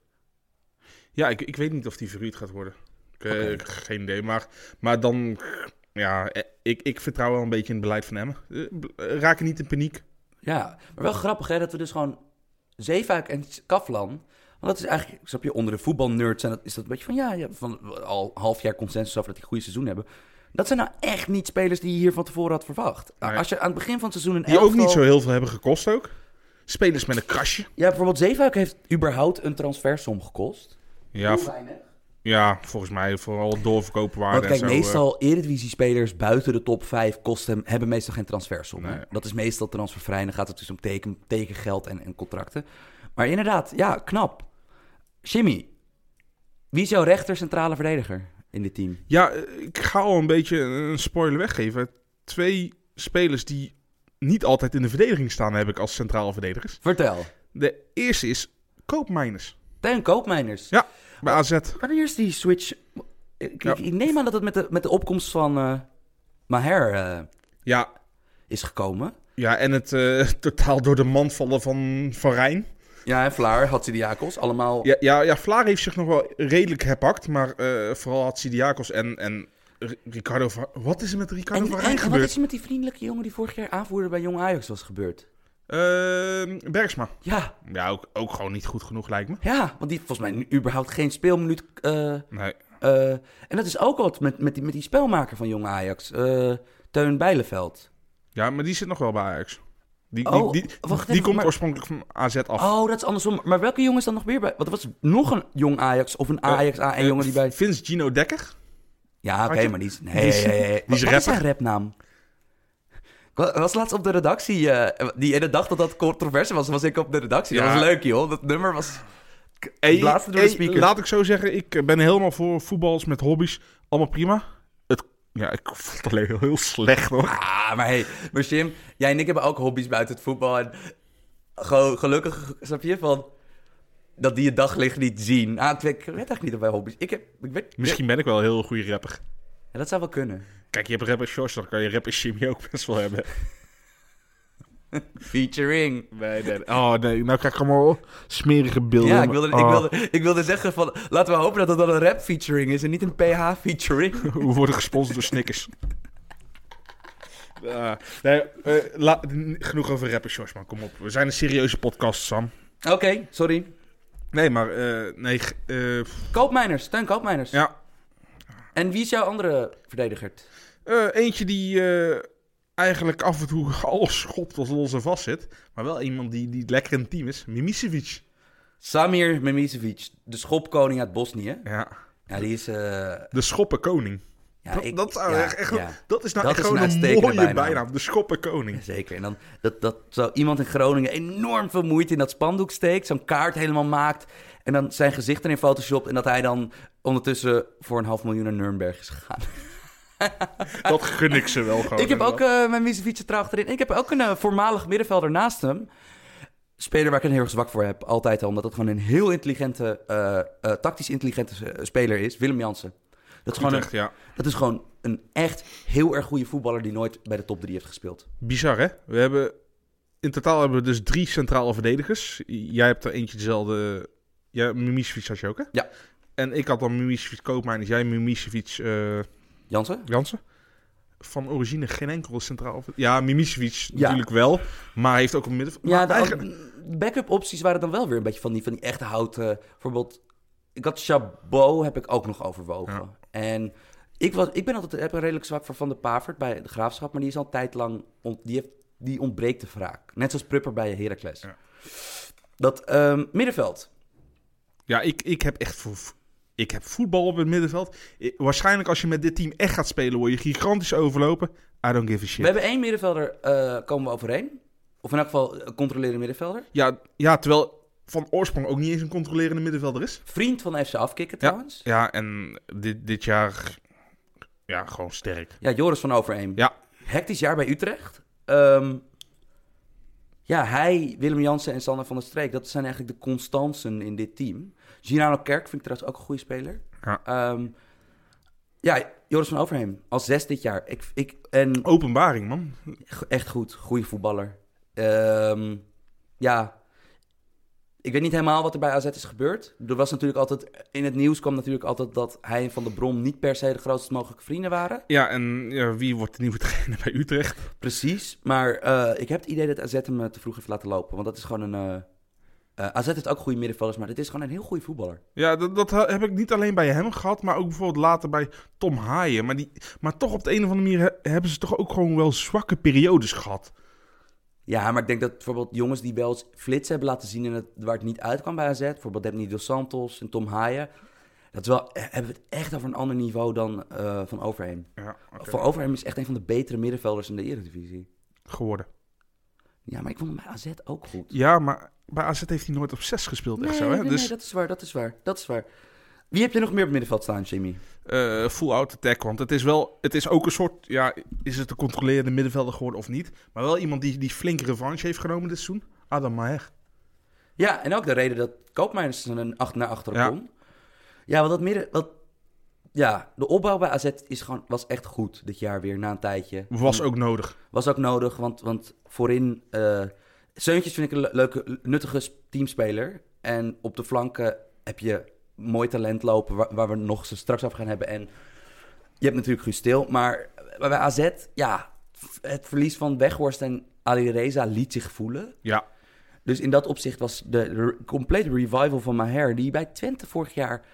B: Ja, ik, ik weet niet of die verhuurd gaat worden. Ik, eh,
A: Oké.
B: ik- Geen idee, maar, maar dan... Ja, eh, ik, ik vertrouw wel een beetje in het beleid van Emmen. Eh, b- eh, Raak niet in paniek.
A: Ja, maar wel grappig hè, dat we dus gewoon Zeefuik en Kaflan... Want dat is eigenlijk, snap je, onder de voetbalnerds zijn dat, is dat een beetje van... Ja, ja van al een half jaar consensus over dat die een goede seizoen hebben. Dat zijn nou echt niet spelers die je hier van tevoren had verwacht. Nou,
B: Nee.
A: Als je aan het begin van het seizoen een
B: Die ook
A: elftal-
B: niet zo heel veel hebben gekost ook. Spelers met een krasje.
A: Ja, bijvoorbeeld Zeefuik heeft überhaupt een transfersom gekost.
B: Ja, vo-
A: weinig.
B: ja volgens mij vooral doorverkopen
A: Want
B: waarde en
A: kijk,
B: zo. eh.
A: meestal Eredivisie-spelers buiten de top 5 kosten, hebben meestal geen transfersom. hè?
B: Nee.
A: Dat is meestal transfervrij. En dan gaat het dus om teken, tekengeld en, en contracten. Maar inderdaad, ja, knap. Jimmy, wie is jouw rechter centrale verdediger in dit team?
B: Ja, eh, ik ga al een beetje een spoiler weggeven. Twee spelers die niet altijd in de verdediging staan, heb ik als centraal verdedigers.
A: Vertel.
B: De eerste is Koopmijners
A: Teun Koopmeiners.
B: Ja, bij AZ.
A: Wanneer is die switch... Ik,
B: Ja.
A: ik neem aan dat het met de, met de opkomst van eh, Maher eh,
B: Ja,
A: is gekomen.
B: ja en het eh, totaal door de man vallen van Van Rijn.
A: Ja, en Vlaar, Hatsidiakos, allemaal...
B: Ja, ja, ja, Vlaar heeft zich nog wel redelijk herpakt, maar eh, vooral had Sidiakos en, en R- Ricardo van... Wat is er met Ricardo
A: En,
B: van
A: en
B: Rijn
A: wat
B: gebeurd?
A: is er met die vriendelijke jongen die vorig jaar aanvoerder bij Jong Ajax was gebeurd?
B: Eh, Bergsma.
A: Ja,
B: Ja, ook, ook gewoon niet goed genoeg lijkt me.
A: Ja, want die heeft volgens mij nu überhaupt geen speelminuut. eh,
B: Nee.
A: eh, en dat is ook wat met, met, die, met die spelmaker van Jong Ajax, eh, Teun Bijleveld.
B: Ja, maar die zit nog wel bij Ajax. Die,
A: Oh,
B: die, die,
A: wacht
B: die
A: even,
B: komt
A: maar-
B: oorspronkelijk van AZ af.
A: Oh, dat is andersom. Maar welke jongen is dan nog weer bij? Want er was nog een Jong Ajax of een Ajax A1 jongen die bij...
B: Eh, Vince Gino Dekker?
A: Ja, oké,
B: had je-
A: maar die is... Nee,
B: die is-
A: nee, nee.
B: die is
A: Wat- Wat is
B: rapper.
A: zijn rapnaam? Ik wa- was laatst op de redactie, eh, die ene dag dat dat controverse was, was ik op de redactie.
B: Ja.
A: Dat was leuk, joh. Dat nummer was...
B: Hey,
A: Blazen door de speakers.
B: Laat ik zo zeggen, ik ben helemaal voor voetbals met hobby's. Allemaal prima. Het, ja, ik vond het alleen heel, heel slecht hoor.
A: Ah, maar hey, maar Jim, jij en ik hebben ook hobby's buiten het voetbal. En gewoon gelukkig, snap je, van... dat die het daglicht niet zien. Ah, ik weet eigenlijk niet of wij hobby's... Ik heb, ik weet,
B: Misschien ben ik wel een heel goede rapper.
A: Ja, dat zou wel kunnen.
B: Kijk, je hebt rapper Shorts, dan kan je rapper Jimmy ook best wel hebben.
A: Featuring.
B: Nee, nee. Oh nee, nou krijg ik allemaal smerige beelden.
A: Ja, ik wilde, ik,
B: Oh,
A: wilde, ik wilde zeggen van... Laten we hopen dat dat dan een rap featuring is en niet een PH featuring.
B: We worden gesponsord door Snickers. Ah, nee, eh, la- n- genoeg over rapper Shorts, man. Kom op. We zijn een serieuze podcast, Sam.
A: Oké, sorry.
B: Nee, maar... eh, nee, g- eh, pff,
A: Koopmijners, Steun Koopmijners.
B: ja.
A: En wie is jouw andere verdediger?
B: Eh, eentje die eh, eigenlijk af en toe alles schopt tot los en vast zit. Maar wel iemand die, die lekker in het team is. Mimicevic.
A: Samir Memisevic, de schopkoning uit Bosnië.
B: Ja.
A: Ja, die is... eh,
B: De schoppenkoning.
A: ja,
B: dat,
A: ik-
B: dat, zou
A: ja,
B: echt, echt-
A: ja.
B: dat is nou
A: Dat
B: echt
A: is een
B: gewoon een,
A: uitstekende
B: mooie bijnaam.
A: bijnaam.
B: De schoppenkoning.
A: Zeker. En dan dat, dat zo iemand in Groningen enorm veel moeite in dat spandoek steekt, zo'n kaart helemaal maakt en dan zijn gezicht erin photoshopt en dat hij dan ondertussen voor een half miljoen naar Nuremberg is gegaan.
B: Dat gun ik ze wel gewoon.
A: ik heb ook eh, mijn Misevic er achterin. Ik heb ook een eh, voormalig middenvelder naast hem. Speler waar ik een heel erg zwak voor heb, altijd al, omdat het gewoon een heel intelligente, eh, eh, tactisch intelligente eh, speler is, Willem Jansen. Dat is, gewoon een,
B: Utrecht, ja.
A: dat is gewoon een echt heel erg goede voetballer die nooit bij de top 3 heeft gespeeld.
B: Bizar, hè? We hebben... In totaal hebben we dus drie centrale verdedigers. Jij hebt er eentje dezelfde... Ja, Mimicevic had je ook, hè?
A: Ja.
B: En ik had dan Mimicevic Koopmijn. Dus jij Mimicevic eh
A: Jansen?
B: Jansen. Van origine geen enkele centraal... Ja, Mimicevic
A: Ja.
B: natuurlijk wel. Maar hij heeft ook een midden...
A: Ja,
B: maar
A: de
B: eigenlijk-
A: al- backup opties waren dan wel weer een beetje van die, van die echte houten. Bijvoorbeeld, ik had Chabot heb ik ook nog overwogen. En ik, was, ik ben altijd heb een redelijk zwak voor Van de Pavert bij de Graafschap, maar die is al een tijd lang, ont- die, heeft, die ontbreekt de wraak. Net zoals Prupper bij Heracles.
B: Ja.
A: Dat ehm, middenveld.
B: Ja, ik, ik heb echt voor, ik heb voetbal op het middenveld. I- waarschijnlijk als je met dit team echt gaat spelen, word je gigantisch overlopen. I don't give a
A: We
B: shit.
A: hebben één middenvelder, eh, komen we overeen. Of in elk geval eh, controlerende middenvelder.
B: Ja, ja, terwijl van oorsprong ook niet eens een controlerende middenvelder is.
A: Vriend van FC Afkikken trouwens. Ja.
B: Ja, en dit, dit jaar ja, gewoon sterk.
A: Joris van Overeem.
B: Ja,
A: hectisch jaar bij Utrecht. Ehm, ja, hij, Willem Jansen en Sander van der Streek, dat zijn eigenlijk de constanten in dit team. Girano Kerk vind ik trouwens ook een goede speler.
B: Ja.
A: Ehm, ja, Joris van Overheem, als zes dit jaar. Ik, ik, en
B: Oh. openbaring, man.
A: echt goed, goede voetballer. Ehm, ja, ik weet niet helemaal wat er bij AZ is gebeurd. Er was natuurlijk altijd, in het nieuws kwam natuurlijk altijd dat hij en Van der Brom niet per se de grootst mogelijke vrienden waren.
B: Ja, en ja, wie wordt de nieuwe trainer bij Utrecht?
A: Precies, maar eh, ik heb het idee dat AZ hem eh, te vroeg heeft laten lopen. Want dat is gewoon een... eh, eh, AZ heeft ook goede middenvelders, maar dit is gewoon een heel goede voetballer.
B: Ja, dat, dat heb ik niet alleen bij hem gehad, maar ook bijvoorbeeld later bij Tom Haaien. Maar, die, maar toch op de een of andere manier he- hebben ze toch ook gewoon wel zwakke periodes gehad.
A: Ja, maar ik denk dat bijvoorbeeld jongens die wel eens flits hebben laten zien... en het, waar het niet uitkwam bij AZ, bijvoorbeeld Debny Dos Santos en Tom Haaien... dat is wel, eh, hebben we het echt over een ander niveau dan eh, Van Overheem.
B: Ja, oké.
A: Van Overheem is echt een van de betere middenvelders in de Eredivisie.
B: geworden.
A: Ja, maar ik vond hem bij AZ ook goed.
B: Ja, maar bij AZ heeft hij nooit op 6 gespeeld, echt zo, hè?
A: nee,
B: dus
A: nee, dat is waar, dat is waar, dat is waar. Wie heb je nog meer op het middenveld staan, Jimmy?
B: eh, full out attack, want het is wel... Het is ook een soort... Ja, is het een controlerende middenvelder geworden of niet? Maar wel iemand die, die flink revanche heeft genomen dit seizoen. Adam Maher.
A: Ja, en ook de reden dat Koopmeiners een acht naar achteren
B: Ja.
A: kon. Ja, want dat midden... Wat, ja, de opbouw bij AZ is gewoon, was echt goed dit jaar weer, na een tijdje.
B: Was ook nodig.
A: Was ook nodig, want, want voorin... eh Seuntjes vind ik een le- leuke, nuttige s- teamspeler. En op de flanken heb je mooi talent lopen, waar, waar we nog ze straks af gaan hebben. En je hebt natuurlijk Guus Stil, maar bij AZ, ja... Het verlies van Weghorst en Ali Reza liet zich voelen.
B: Ja.
A: Dus in dat opzicht was de re- complete revival van Maher, die bij Twente vorig jaar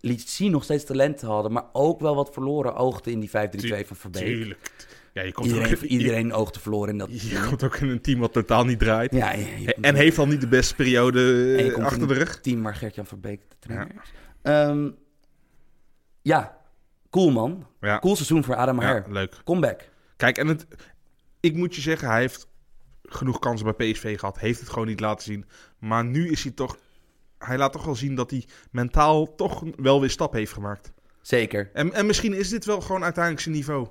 A: liet zien nog steeds talenten hadden, maar ook wel wat verloren oogten in die 5-3-2 van Verbeek.
B: Tuurlijk. Ja, je komt, ook,
A: Iedereen,
B: in-
A: iedereen oogte verloren in dat.
B: Je, je komt ook in een team wat totaal niet draait.
A: Ja, ja, je-
B: En heeft al niet de beste periode
A: en je
B: eh,
A: komt
B: achter
A: in
B: de
A: een
B: rug.
A: Team waar Gert-Jan Verbeek de trainer is. Ehm, ja, cool man.
B: Ja.
A: Cool seizoen voor Adam
B: Ja,
A: Maher.
B: leuk.
A: Comeback.
B: Kijk, en het, ik moet je zeggen, hij heeft genoeg kansen bij PSV gehad. Heeft het gewoon niet laten zien. Maar nu is hij toch. Hij laat toch wel zien dat hij mentaal toch wel weer stap heeft gemaakt.
A: Zeker.
B: En, en misschien is dit wel gewoon uiteindelijk zijn niveau.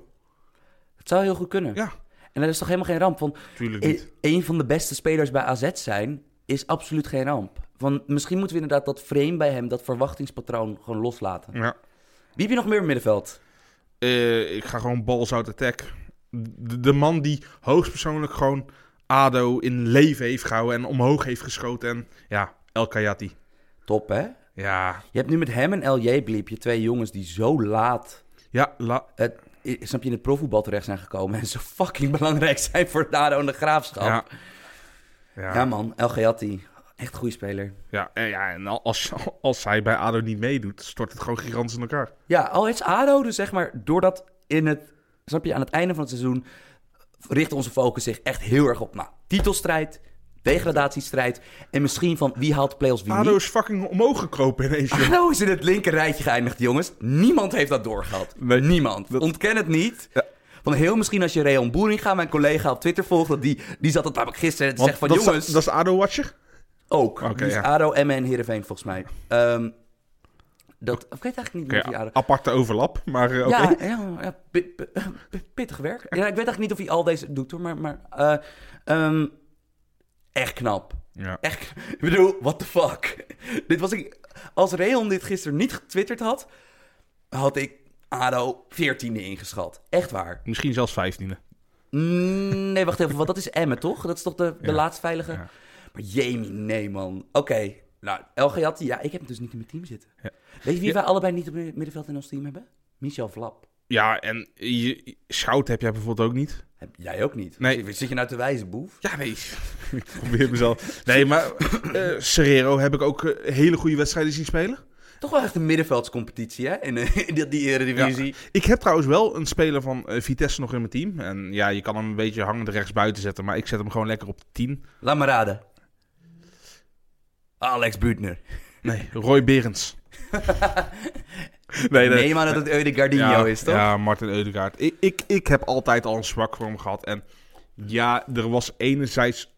A: Het zou heel goed kunnen.
B: Ja,
A: En dat is toch helemaal geen ramp? Want
B: tuurlijk
A: E- een van de beste spelers bij AZ zijn is absoluut geen ramp. Van, misschien moeten we inderdaad dat frame bij hem, dat verwachtingspatroon, gewoon loslaten.
B: Ja.
A: Wie heb je nog meer in het middenveld?
B: Eh, ik ga gewoon balls out attack. De, de man die hoogstpersoonlijk gewoon ADO in leven heeft gehouden en omhoog heeft geschoten. En ja, El Kayati.
A: Top, hè?
B: Ja,
A: Je hebt nu met hem en LJ Bliep, je twee jongens die zo laat
B: ja la,
A: het, i- snap je, in het profvoetbal terecht zijn gekomen. En zo fucking belangrijk zijn voor Dado en de Graafschap.
B: ja.
A: Ja,
B: Ja,
A: man, El Gayati. Echt een goede speler.
B: ja, en, ja, en al- als, als hij bij ADO niet meedoet, stort het gewoon gigantisch in elkaar.
A: Ja, al is ADO dus zeg maar, doordat in het, snap je, aan het einde van het seizoen richt onze focus zich echt heel erg op, nou, titelstrijd, degradatiestrijd en misschien van wie haalt de play-offs wie
B: ADO
A: niet.
B: is fucking omhoog gekropen ineens. joh.
A: ADO is in het linker rijtje geëindigd, jongens. Niemand heeft dat doorgehad.
B: Nee,
A: Niemand.
B: dat-
A: Ontken het niet.
B: Ja.
A: Van heel misschien als je Reon Boeringa, mijn collega op Twitter volgt, dat die, die zat dat namelijk gisteren te
B: Want
A: zeggen van
B: dat is-
A: jongens...
B: dat is de ADO-watcher?
A: Ook.
B: Oké,
A: die is
B: ja.
A: ADO, Emmen en Heerenveen volgens mij. Ehm, dat, ik weet eigenlijk niet meer of die ADO...
B: aparte overlap, maar eh, oké.
A: Ja, ja, ja, pi- pi- pi- pittig werk. Ja, ik weet eigenlijk niet of hij al deze doet hoor, maar... maar eh, ehm, echt knap.
B: Ja.
A: Echt, ik bedoel, what the fuck. Dit was ik... Als Reon dit gisteren niet getwitterd had, had ik ADO 14e ingeschat. Echt waar.
B: Misschien zelfs vijftiende.
A: Mm, Nee, wacht even, want dat is Emmen, toch? Dat is toch de, de
B: Ja,
A: laatst veilige?
B: ja.
A: Maar Jamie, nee man. Oké, nou, El Gayati, ja, ik heb hem dus niet in mijn team zitten.
B: Ja.
A: Weet je wie
B: Ja.
A: wij allebei niet op het middenveld in ons team hebben? Michel Vlap.
B: Ja, en je, je- Schout heb jij bijvoorbeeld ook niet.
A: Heb jij ook niet.
B: Nee.
A: Zit- Zit je nou te wijzen, boef?
B: Ja, nee. ik probeer mezelf. Nee, maar eh Serrero heb ik ook eh, hele goede wedstrijden zien spelen.
A: Toch wel echt een middenveldscompetitie, hè? In, eh, in die, die eredivisie.
B: Ik heb trouwens wel een speler van eh, Vitesse nog in mijn team. En ja, je kan hem een beetje hangend rechts buiten zetten, maar ik zet hem gewoon lekker op 10.
A: Laat maar raden. Alex Buutner.
B: Nee, Roy Berends. nee,
A: Nee, maar dat het Eude Gardino
B: ja,
A: is, toch?
B: Ja, Martin Eudegaard. Ik, ik, ik heb altijd al een zwak voor hem gehad. En ja, er was enerzijds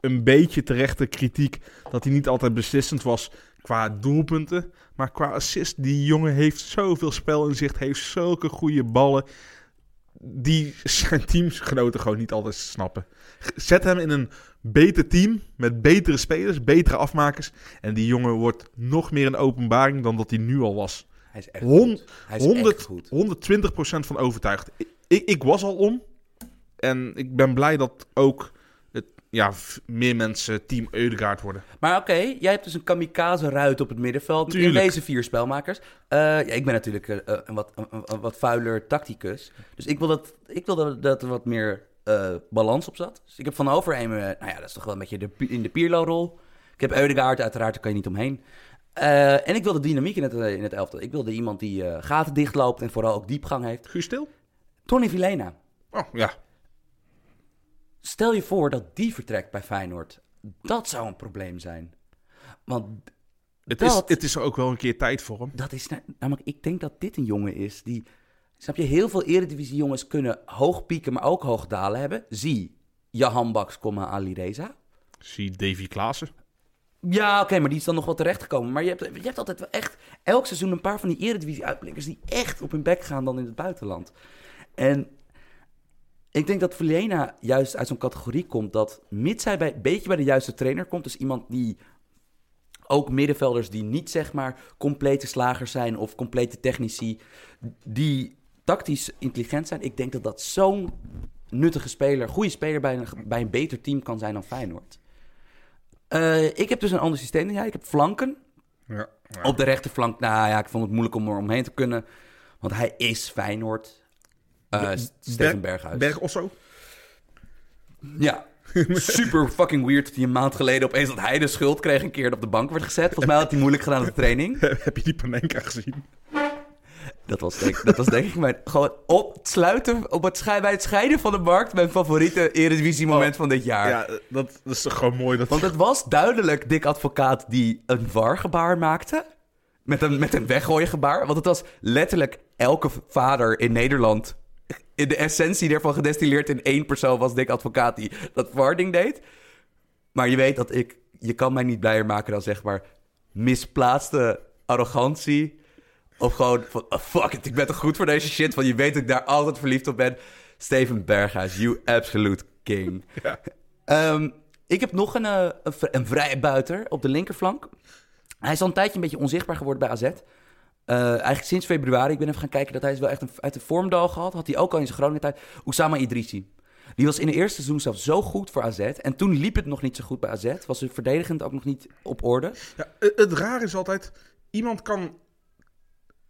B: een beetje terechte kritiek dat hij niet altijd beslissend was qua doelpunten. Maar qua assist, die jongen heeft zoveel spel in zicht, heeft zulke goede ballen. Die zijn teamsgenoten gewoon niet altijd snappen. Zet hem in een beter team met betere spelers, betere afmakers. En die jongen wordt nog meer een openbaring dan dat hij nu al was.
A: Hij is echt
B: Hon-
A: goed. Hij is
B: 100,
A: echt goed.
B: 120% van overtuigd. Ik, ik, ik was al om. En ik ben blij dat ook het, ja, v- meer mensen team Eudegaard worden.
A: Maar oké, jij hebt dus een kamikaze ruit op het middenveld.
B: Tuurlijk.
A: In deze vier spelmakers. Eh, ja, ik ben natuurlijk eh, eh, een, wat, een, een- een wat vuiler tacticus. Dus ik wil dat, ik wil dat, dat er wat meer eh, balans op zat. Dus ik heb Van Overheem, eh, nou ja, dat is toch wel een beetje de, pi- in de Pirlo-rol. Ik heb Eudegaard, uiteraard, daar kan je niet omheen. Eh, en ik wilde dynamiek in het, eh, in het elftal. Ik wilde iemand die eh, gaten dichtloopt en vooral ook diepgang heeft.
B: Guus Stil?
A: Tony Villena.
B: Oh, ja.
A: Stel je voor dat die vertrekt bij Feyenoord. Dat zou een probleem zijn. Want
B: Het is,
A: Dat-
B: het is er ook wel een keer tijd voor hem.
A: Dat is na- namelijk, ik denk dat dit een jongen is die. Snap je, heel veel eredivisie jongens kunnen hoog pieken, maar ook hoog dalen hebben. Zie Jahan Baks, comma, Ali Reza.
B: Zie Davy Klaassen.
A: Ja, oké, maar die is dan nog wel terechtgekomen. Maar je hebt, je hebt altijd wel echt elk seizoen een paar van die eredivisie-uitblinkers... die echt op hun bek gaan dan in het buitenland. En ik denk dat Velena juist uit zo'n categorie komt... dat mits hij bij, een beetje bij de juiste trainer komt... dus iemand die ook middenvelders die niet zeg maar complete slagers zijn... of complete technici, die tactisch intelligent zijn... ik denk dat dat zo'n nuttige speler, goede speler... bij een, bij een beter team kan zijn dan Feyenoord. Eh, ik heb dus een ander systeem dan jij. Ik heb flanken.
B: Ja.
A: Op de rechterflank, nou ja, ik vond het moeilijk om er omheen te kunnen. Want hij is Feyenoord. Eh, S- Steven Berghuis.
B: Berg Osso.
A: Ja. Super fucking weird dat hij een maand geleden opeens dat hij de schuld kreeg een keer dat op de bank werd gezet. Volgens mij had hij moeilijk gedaan op de training.
B: Heb je die Panenka gezien?
A: Dat was denk, dat was denk ik mijn... Gewoon op het sluiten, op het schei- bij het scheiden van de markt, mijn favoriete Eredivisie moment van dit jaar.
B: Ja, dat, dat is toch gewoon mooi. Dat...
A: Want het was duidelijk Dick Advocaat die een wargebaar maakte. Met een, met een weggooien gebaar. Want het was letterlijk elke vader in Nederland. In de essentie daarvan gedestilleerd in één persoon was Dick Advocaat die dat warding deed. Maar je weet dat ik... Je kan mij niet blijer maken dan zeg maar misplaatste arrogantie. Of gewoon van, ah, fuck it, ik ben toch goed voor deze shit. Want je weet dat ik daar altijd verliefd op ben. Steven Berghuis, you absolute king. Ehm, Ik heb nog een, eh, een, vri- een vrijbuiter op de linkerflank. Hij is al een tijdje een beetje onzichtbaar geworden bij AZ. Eh, eigenlijk sinds februari. Ik ben even gaan kijken dat hij is wel echt een, uit de vormdal gehad. Had hij ook al in zijn Groningen tijd. Oussama Idrissi. Die was in het eerste seizoen zelf zo goed voor AZ. En toen liep het nog niet zo goed bij AZ. Was het verdedigend ook nog niet op orde.
B: Ja, het, het raar is altijd, iemand kan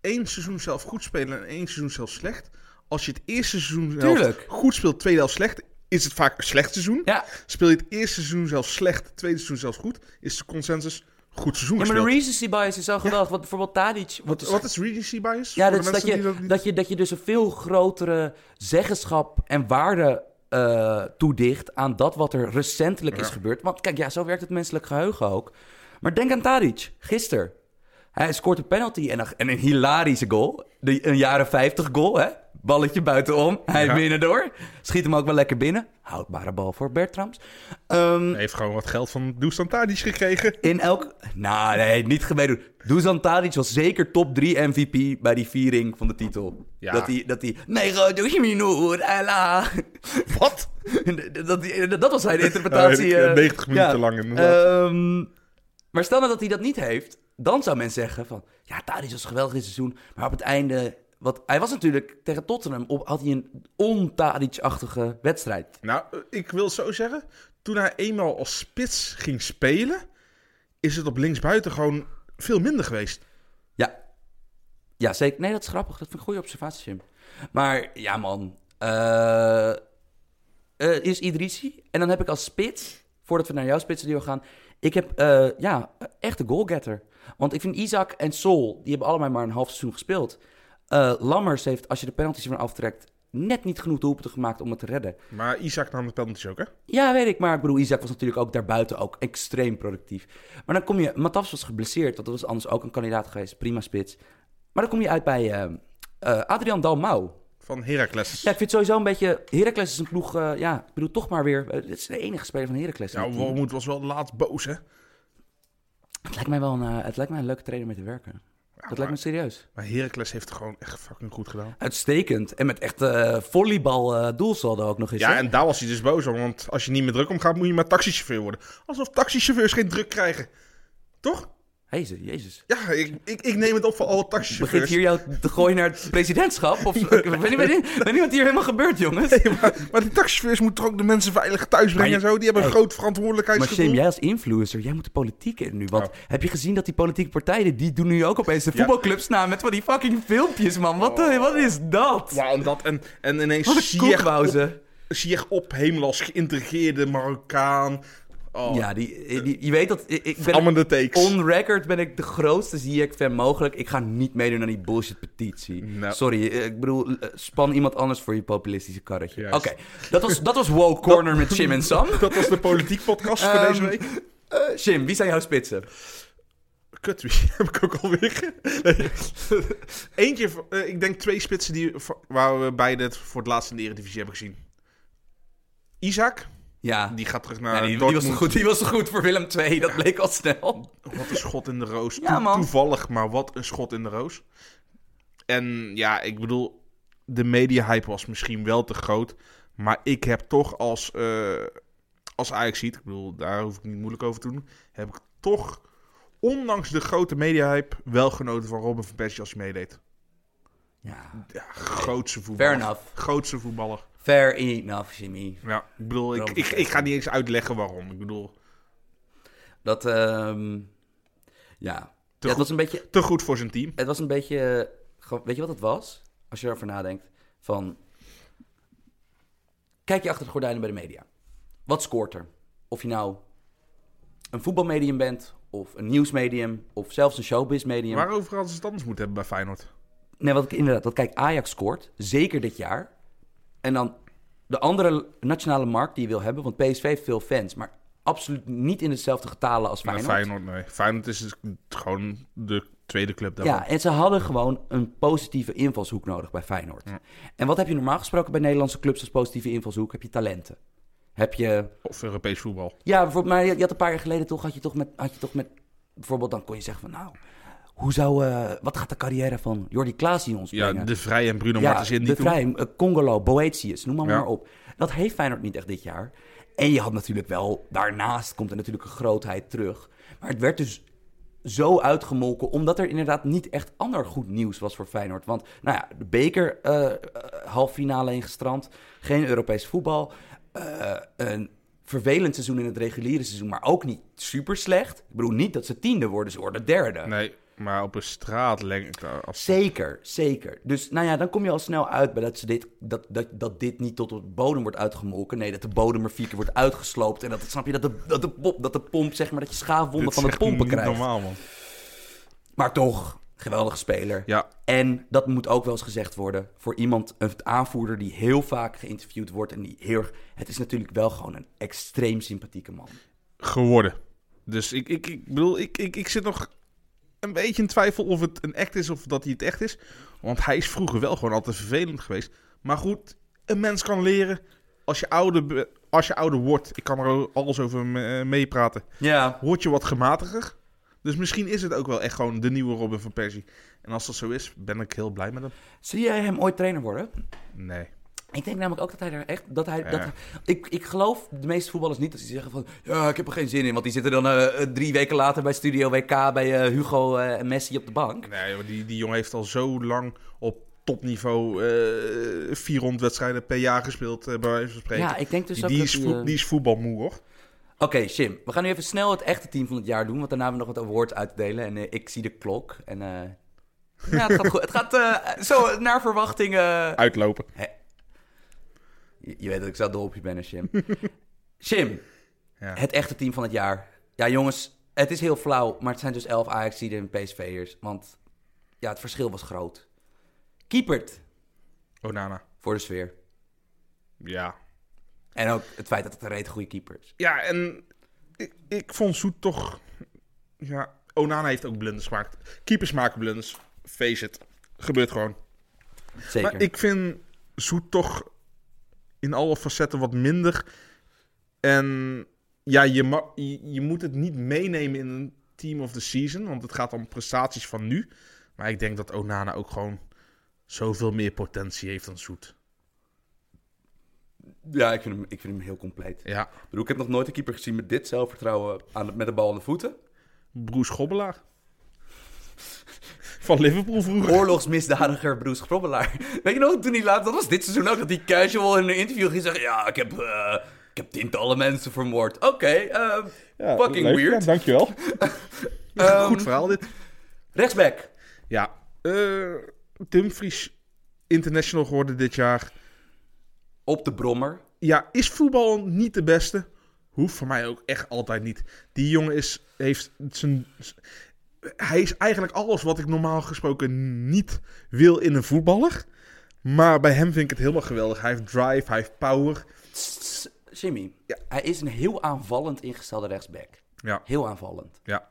B: één seizoen zelf goed spelen en één seizoen zelf slecht. Als je het eerste seizoen zelf
A: Tuurlijk.
B: goed speelt, tweede helft slecht, is het vaak een slecht seizoen.
A: Ja,
B: Speel je het eerste seizoen zelf slecht, tweede seizoen zelfs goed, is de consensus goed seizoen
A: ja maar de
B: gespeeld.
A: recency bias is zo geweldig. Want bijvoorbeeld Tadic... wordt
B: Wat, wat is regency bias?
A: Ja, dat,
B: Voor de
A: is dat,
B: mensen die
A: je,
B: niet-
A: dat, je, dat je dus een veel grotere zeggenschap en waarde eh, toedicht aan dat wat er recentelijk is
B: Ja.
A: gebeurd. Want kijk, ja, zo werkt het menselijk geheugen ook. Maar denk aan Tadic, gisteren. Hij scoort een penalty en een, en een hilarische goal. De, een jaren 50 goal, hè? Balletje buitenom, hij
B: Ja.
A: binnen door. Schiet hem ook wel lekker binnen. Houdbare bal voor Bertrams. Ehm,
B: Hij heeft gewoon wat geld van Dusan Tadic gekregen.
A: in elk... Nou, nee, niet gemeen doen. Dusan Tadic was zeker top 3 MVP bij die viering van de titel.
B: Ja.
A: Dat hij... Dat hij Nego Dujminoer, ella.
B: Wat?
A: dat, die- dat was zijn interpretatie.
B: Ja,
A: eh,
B: 90 minuten lang, inderdaad.
A: Ehm, maar stel nou dat hij dat niet heeft, dan zou men zeggen van... Ja, Tadic was geweldig dit seizoen, maar op het einde... Wat, hij was natuurlijk tegen Tottenham, op, had hij een on-Tadic-achtige wedstrijd.
B: Nou, ik wil het zo zeggen. Toen hij eenmaal als spits ging spelen, is het op linksbuiten gewoon veel minder geweest.
A: Ja. Ja, zeker. Nee, dat is grappig. Dat vind ik een goede observatie, Jim. Maar ja, man. Eh, eh, is Idrisi. En dan heb ik als spits, voordat we naar jouw spitsen die we gaan... Ik heb, eh ja, echt een goalgetter. Want ik vind Isaac en Sol, die hebben allemaal maar een half seizoen gespeeld. Eh, Lammers heeft, als je de penalties ervan aftrekt... net niet genoeg doelpunten gemaakt om het te redden.
B: Maar Isaac nam de penalties ook, hè?
A: Ja, weet ik, maar ik bedoel, Isaac was natuurlijk ook daarbuiten ook extreem productief. Maar dan kom je, Matas was geblesseerd, want dat was anders ook een kandidaat geweest, prima spits. Maar dan kom je uit bij eh, eh, Adrian Dalmau.
B: Van Heracles.
A: Ja, ik vind het sowieso een beetje, Heracles is een ploeg, eh, ja, ik bedoel toch maar weer, eh, dit is de enige speler van Heracles.
B: Nou, Wormoed was wel laatst boos, hè?
A: het, lijkt mij wel een, eh, het lijkt mij een leuke trainer mee te werken. dat lijkt me serieus.
B: Maar Heracles heeft het gewoon echt fucking goed gedaan.
A: Uitstekend. En met echt eh, volleybal eh, doelsaldo ook nog eens.
B: Ja,
A: hè?
B: en daar was hij dus boos om. Want als je niet meer druk omgaat, moet je maar taxichauffeur worden. Alsof taxichauffeurs geen druk krijgen. Toch?
A: Jezus, jezus.
B: Ja, ik, ik, ik neem het op voor alle
A: Begint
B: taxichauffeurs.
A: hier jou te gooien naar het presidentschap? Of, ik weet niet- ik weet niet ik weet niet wat hier helemaal gebeurt, jongens.
B: Nee, maar, maar die taxichauffeurs moeten toch ook de mensen veilig thuis brengen en
A: je- eh,
B: zo. Die hebben een
A: Hey.
B: groot
A: Maar
B: verantwoordelijkheidsgevoel.
A: Sim, jij als influencer, jij moet de politiek in nu. Want
B: Oh.
A: heb je gezien dat die politieke partijen, die doen nu ook opeens de
B: Ja.
A: voetbalclubs na met van die fucking filmpjes, man. Wat, de- wat is dat?
B: Ja, en dat. En, en
A: Wat
B: ineens
A: een
B: Sieg op,
A: koekwauze.
B: Sieg op hemel als geïntegreerde Marokkaan. Oh,
A: Ja, die, eh, die, je weet dat... Ik, ik ben
B: allemaal de takes.
A: on record ben ik de grootste Ziyech-fan mogelijk. Ik ga niet meedoen aan die bullshit-petitie.
B: Nou.
A: Sorry, eh, ik bedoel, eh, span iemand anders voor je populistische karretje. Oké,
B: Juist.
A: dat, was, dat was Wow Corner met Jim en Sam.
B: Dat was de politiek podcast voor
A: Ehm,
B: deze week.
A: eh, Jim, wie zijn jouw spitsen?
B: Kut, wie heb ik ook alweer? Nee. Eentje, van- eh, ik denk twee spitsen die, waar we beide het voor het laatst in de Eredivisie hebben gezien. Isaac,
A: Ja,
B: die gaat terug naar
A: Ja, die, die was
B: Dortmund.
A: toch goed, die was toch goed voor Willem II, dat bleek al snel.
B: Wat een schot in de roos.
A: Ja,
B: Toe-
A: man.
B: toevallig, maar wat een schot in de roos. En ja, ik bedoel, de media-hype was misschien wel te groot. Maar ik heb toch als, eh als Ajax ziet, ik bedoel, daar hoef ik niet moeilijk over te doen. Heb ik toch, ondanks de grote media-hype, wel genoten van Robin van Persie als hij meedeed.
A: Ja,
B: Ja, grootse voetballer.
A: fair enough.
B: Grootse voetballer.
A: Fair enough, Jimmy.
B: Ja, ik bedoel, ik,
A: Robin
B: ik,
A: van
B: ik ga niet eens uitleggen waarom. Ik bedoel,
A: Dat, ehm, ja. Ja, het,
B: goed.
A: was een beetje,
B: te goed voor zijn team.
A: het was een beetje, eh, gewoon- weet je wat het was? Als je erover nadenkt, van, kijk je achter de gordijnen bij de media. Wat scoort er? Of je nou een voetbalmedium bent, of een nieuwsmedium, of zelfs een showbizmedium.
B: Waarover hadden ze het anders moeten hebben bij Feyenoord?
A: Nee, wat ik inderdaad, dat kijk, Ajax scoort, zeker dit jaar. En dan de andere nationale markt die je wil hebben, want PSV heeft veel fans, maar absoluut niet in dezelfde getalen als
B: Maar
A: Feyenoord.
B: Feyenoord, nee. Feyenoord is dus gewoon de tweede club daarvan.
A: Ja, en ze hadden gewoon een positieve invalshoek nodig bij Feyenoord. En wat heb je normaal gesproken bij Nederlandse clubs als positieve invalshoek? Heb je talenten? Heb je
B: Of Europees voetbal.
A: Ja, bijvoorbeeld, maar je je had een paar jaar geleden toch, had je toch met, had je toch met bijvoorbeeld dan kon je zeggen van, nou, hoe zou, eh, wat gaat de carrière van Jordi Klaas in ons
B: Ja,
A: brengen?
B: De Vrij en Bruno
A: Ja,
B: Martens in die
A: de
B: toen.
A: Vrij, eh, Congolo, Boetius, noem maar,
B: Ja.
A: maar op. Dat heeft Feyenoord niet echt dit jaar. En je had natuurlijk wel, daarnaast komt er natuurlijk een grootheid terug. Maar het werd dus zo uitgemolken, omdat er inderdaad niet echt ander goed nieuws was voor Feyenoord. Want, nou ja, de beker eh, eh, halffinale in gestrand, geen Europees voetbal, eh, een vervelend seizoen in het reguliere seizoen, maar ook niet super slecht. Ik bedoel, niet dat ze tiende worden, ze worden derde.
B: Nee, maar op een straatlengte. eh, Als...
A: Zeker, zeker. Dus nou ja, dan kom je al snel uit bij dat, ze dit, dat, dat, dat dit niet tot op de bodem wordt uitgemolken. Nee, dat de bodem er vier keer wordt uitgesloopt. En dat, snap je, dat de, dat de, pop, dat de pomp, zeg maar, dat je schaafwonden
B: Dit
A: van
B: is
A: de
B: echt
A: pompen
B: niet
A: krijgt.
B: normaal, man.
A: Maar toch, geweldige speler.
B: Ja,
A: En dat moet ook wel eens gezegd worden voor iemand, een aanvoerder die heel vaak geïnterviewd wordt. En die heel erg- Het is natuurlijk wel gewoon een extreem sympathieke man.
B: geworden. Dus ik, ik, ik bedoel, ik, ik, ik zit nog een beetje in twijfel of het een act is of dat hij het echt is. Want hij is vroeger wel gewoon altijd vervelend geweest. Maar goed, een mens kan leren als je ouder, be- als je ouder wordt. Ik kan er al- alles over me- eh, meepraten.
A: Ja.
B: Word je wat gematiger. Dus misschien is het ook wel echt gewoon de nieuwe Robin van Persie. En als dat zo is, ben ik heel blij met hem.
A: Zie jij hem ooit trainer worden?
B: Nee.
A: Ik denk namelijk ook dat hij daar echt. Dat hij, dat
B: Ja.
A: hij- ik, ik geloof de meeste voetballers niet dat ze zeggen van. Ja, ik heb er geen zin in. Want die zitten dan eh, eh, drie weken later bij Studio WK bij eh, Hugo eh, en Messi op de bank.
B: Nee, joh, die, die jongen heeft al zo lang op topniveau eh 400 wedstrijden per jaar gespeeld, eh, bij wijze van spreken.
A: Ja, ik denk dus
B: die,
A: ook
B: die
A: dat
B: is
A: hij,
B: voet-
A: eh,
B: die is voetbalmoe, hoor.
A: Oké, Jim, we gaan nu even snel het echte team van het jaar doen. Want daarna hebben we nog wat awards uit te delen. En eh, ik zie de klok. En. eh, ja, het gaat goed. Het gaat eh, zo naar verwachting. eh,
B: Uitlopen.
A: Je, je weet dat ik zo dol op je ben, hè, Jim. Jim,
B: Ja.
A: het echte team van het jaar. Ja, jongens, het is heel flauw, maar het zijn dus 11 Ajaxiden en PSV'ers. Want ja, het verschil was groot. Kiepert
B: Onana.
A: voor de sfeer.
B: Ja.
A: En ook het feit dat het een reet goede keeper is.
B: Ja, en ik, ik vond Zoet toch... Ja, Onana heeft ook blunders gemaakt. Keepers maken blunders. Face it. Gebeurt gewoon.
A: Zeker.
B: Maar ik vind Zoet toch in alle facetten wat minder. En ja, je, ma- je, je moet het niet meenemen in een team of the season. Want het gaat om prestaties van nu. Maar ik denk dat Onana ook gewoon zoveel meer potentie heeft dan Zoet.
A: Ja, ik vind, hem, ik vind hem heel compleet.
B: Ja,
A: Ik, bedoel, ik heb nog nooit een keeper gezien met dit zelfvertrouwen aan de- met de bal aan de voeten.
B: Broes Gobbelaar. Van Liverpool vroeger.
A: Oorlogsmisdadiger Broes Grobbelaar. Weet je nog, toen hij laatst, dat was dit seizoen ook, dat hij casual in een interview ging zeggen... Ja, ik heb, eh, ik heb tientallen mensen vermoord. Oké, eh, fucking weird.
B: dankjewel.
A: Ehm,
B: Goed verhaal dit.
A: Rechtsback.
B: Ja, eh Dumfries international geworden dit jaar.
A: Op de brommer.
B: ja, is voetbal niet de beste? Hoeft voor mij ook echt altijd niet. Die jongen is, heeft zijn. z- Hij is eigenlijk alles wat ik normaal gesproken niet wil in een voetballer. Maar bij hem vind ik het helemaal geweldig. Hij heeft drive, hij heeft power.
A: Tss, Jimmy,
B: Ja.
A: hij is een heel aanvallend ingestelde rechtsback.
B: Ja,
A: Heel aanvallend.
B: ja.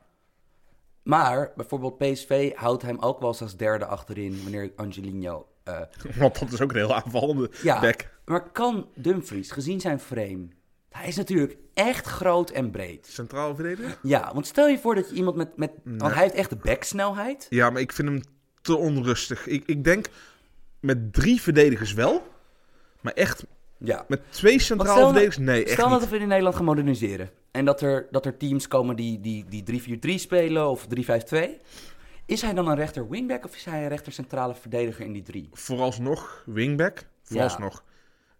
A: Maar bijvoorbeeld PSV houdt hem ook wel eens als derde achterin wanneer Angelino. eh,
B: Want dat is ook een heel aanvallende
A: ja,
B: back.
A: maar kan Dumfries, gezien zijn frame, hij is natuurlijk echt groot en breed.
B: Centraal verdediger?
A: Ja, want stel je voor dat je iemand met, met want hij heeft echt de backsnelheid.
B: Ja, maar ik vind hem te onrustig. Ik, ik denk met drie verdedigers wel. Maar echt
A: Ja.
B: met twee
A: Want
B: centraal
A: stel nou-
B: verdedigers? Nee, echt
A: Stel
B: niet.
A: dat we in Nederland gaan moderniseren. En dat er, dat er teams komen die, die, die 3-4-3 spelen of 3-5-2. Is hij dan een rechter wingback of is hij een rechter centrale verdediger in die drie?
B: vooralsnog wingback. Vooralsnog.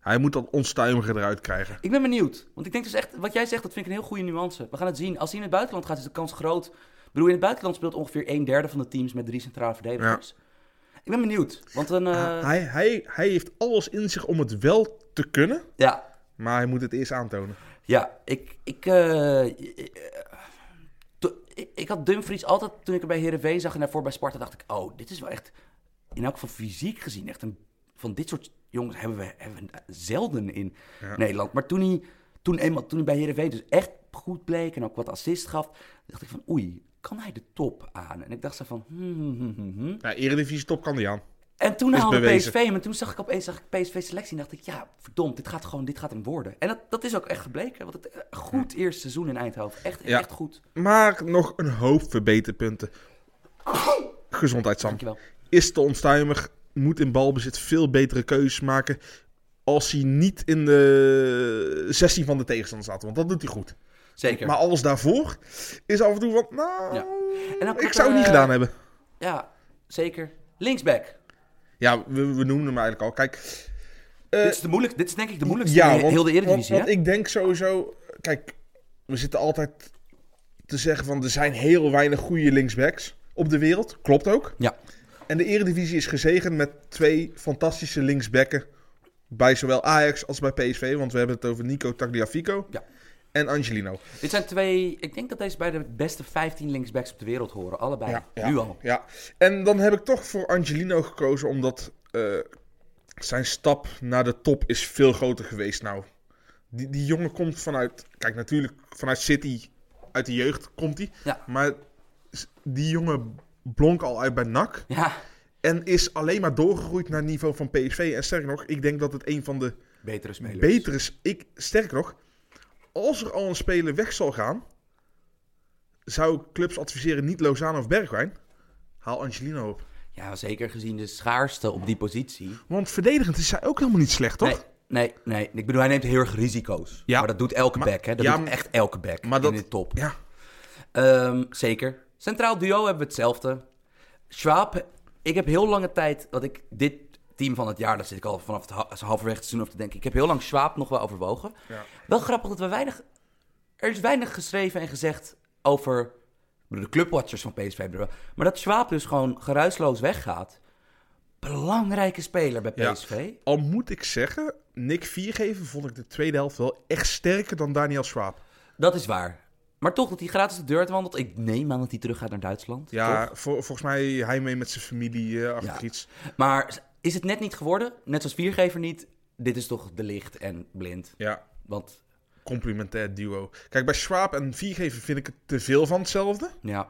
B: Hij moet dat onstuimige eruit krijgen.
A: Ik ben benieuwd. Want ik denk dus echt, wat jij zegt, dat vind ik een heel goede nuance. We gaan het zien. Als hij in het buitenland gaat, is de kans groot. Ik bedoel, in het buitenland speelt ongeveer een derde van de teams met drie centrale verdedigers. Ik ben benieuwd. Want dan, eh,
B: Hij, hij, hij heeft alles in zich om het wel te kunnen,
A: ja,
B: maar hij moet het eerst aantonen.
A: Ja, ik. Ik, eh, ik- to- ik, ik had Dumfries altijd. Toen ik hem bij Herenveen zag en daarvoor bij Sparta. dacht ik: oh, dit is wel echt. In elk geval fysiek gezien. Echt een. Van dit soort jongens hebben we, hebben we zelden in Nederland. Maar toen hij, toen, eenmaal, toen hij bij Herenveen dus echt goed bleek. en ook wat assist gaf. dacht ik: van, oei, kan hij de top aan? En ik dacht zo van. hmm, hmm, hmm, hmm, hmm.
B: Ja, Eredivisie top kan die aan.
A: En toen
B: Is
A: haalde
B: bewezen.
A: PSV hem. En toen zag ik opeens zag ik PSV selectie. En dacht ik, ja, verdomd, dit gaat gewoon, dit gaat hem worden. En dat, dat is ook echt gebleken. Want het eh, goed eerste seizoen in Eindhoven. Echt,
B: Ja.
A: echt goed.
B: Maar nog een hoop verbeterpunten. Gezondheid, Sam.
A: Dankjewel.
B: Is te onstuimig, moet in balbezit veel betere keuzes maken. als hij niet in de 16 van de tegenstander staat. Want dat doet hij goed.
A: Zeker.
B: Maar alles daarvoor is af en toe van, nou,
A: Ja. En dan
B: ik
A: komt
B: zou het
A: er,
B: niet
A: eh,
B: gedaan hebben. Eh,
A: Ja, zeker. Linksback.
B: Ja, we, we noemden hem eigenlijk al. Kijk, eh,
A: dit, is de moeilijk, dit is denk ik de moeilijkste
B: ja,
A: in
B: want,
A: heel de
B: want,
A: Eredivisie,
B: want ik denk sowieso... Kijk, we zitten altijd te zeggen van... er zijn heel weinig goede linksbacks op de wereld. Klopt ook.
A: Ja.
B: En de Eredivisie is gezegend met twee fantastische linksbacken... bij zowel Ajax als bij PSV. Want we hebben het over Nico Tagliafico
A: Ja.
B: en Angelino.
A: hè? Dit zijn twee... Ik denk dat deze bij de beste 15 linksbacks op de wereld horen. Allebei.
B: ja,
A: Nu al.
B: Ja. En dan heb ik toch voor Angelino gekozen... omdat eh, zijn stap naar de top is veel groter geweest nou. Die, die jongen komt vanuit... Kijk, natuurlijk vanuit City, uit de jeugd komt hij.
A: Ja.
B: Maar s- die jongen blonk al uit bij NAC.
A: Ja.
B: En is alleen maar doorgegroeid naar het niveau van PSV. En sterker nog, ik denk dat het een van de
A: Betere spelers.
B: betere... is. Ik, sterker nog, als er al een speler weg zal gaan... zou ik clubs adviseren niet Lozano of Bergwijn. Haal Angelino op.
A: Ja, zeker gezien de schaarste op die positie.
B: Want verdedigend is hij ook helemaal niet slecht, toch?
A: Nee, nee, nee. Ik bedoel, hij neemt heel erg risico's.
B: Ja.
A: Maar dat doet elke
B: Maar-
A: back, hè. Dat
B: ja,
A: doet
B: maar-
A: echt elke back
B: maar dat-
A: in de top.
B: Ja,
A: Ehm, zeker. Centraal duo hebben we hetzelfde. Schwab, ik heb heel lange tijd, dat ik dit team van het jaar, daar zit ik al vanaf het ha- halverwege het seizoen over te denken. Ik heb heel lang Schwab nog wel overwogen.
B: Ja.
A: Wel grappig dat we weinig, er is weinig geschreven en gezegd over de clubwatchers van PSV. bedoel ik. Maar dat Schwab dus gewoon geruisloos weggaat. Belangrijke speler bij
B: Ja.
A: PSV.
B: al moet ik zeggen, Nick Viergeven vond ik de tweede helft wel echt sterker dan Daniel Swaap.
A: Dat is waar. Maar toch dat hij gratis de deur uit wandelt. Ik neem aan dat hij terug gaat naar Duitsland.
B: Ja, vo- volgens mij hij mee met zijn familie eh, achter
A: Ja.
B: iets.
A: Maar is het net niet geworden? Net zoals Viergever niet. Dit is toch de licht en blind.
B: Ja,
A: Want
B: complementair duo. Kijk, bij Swaap en Viergeven vind ik het te veel van hetzelfde.
A: ja,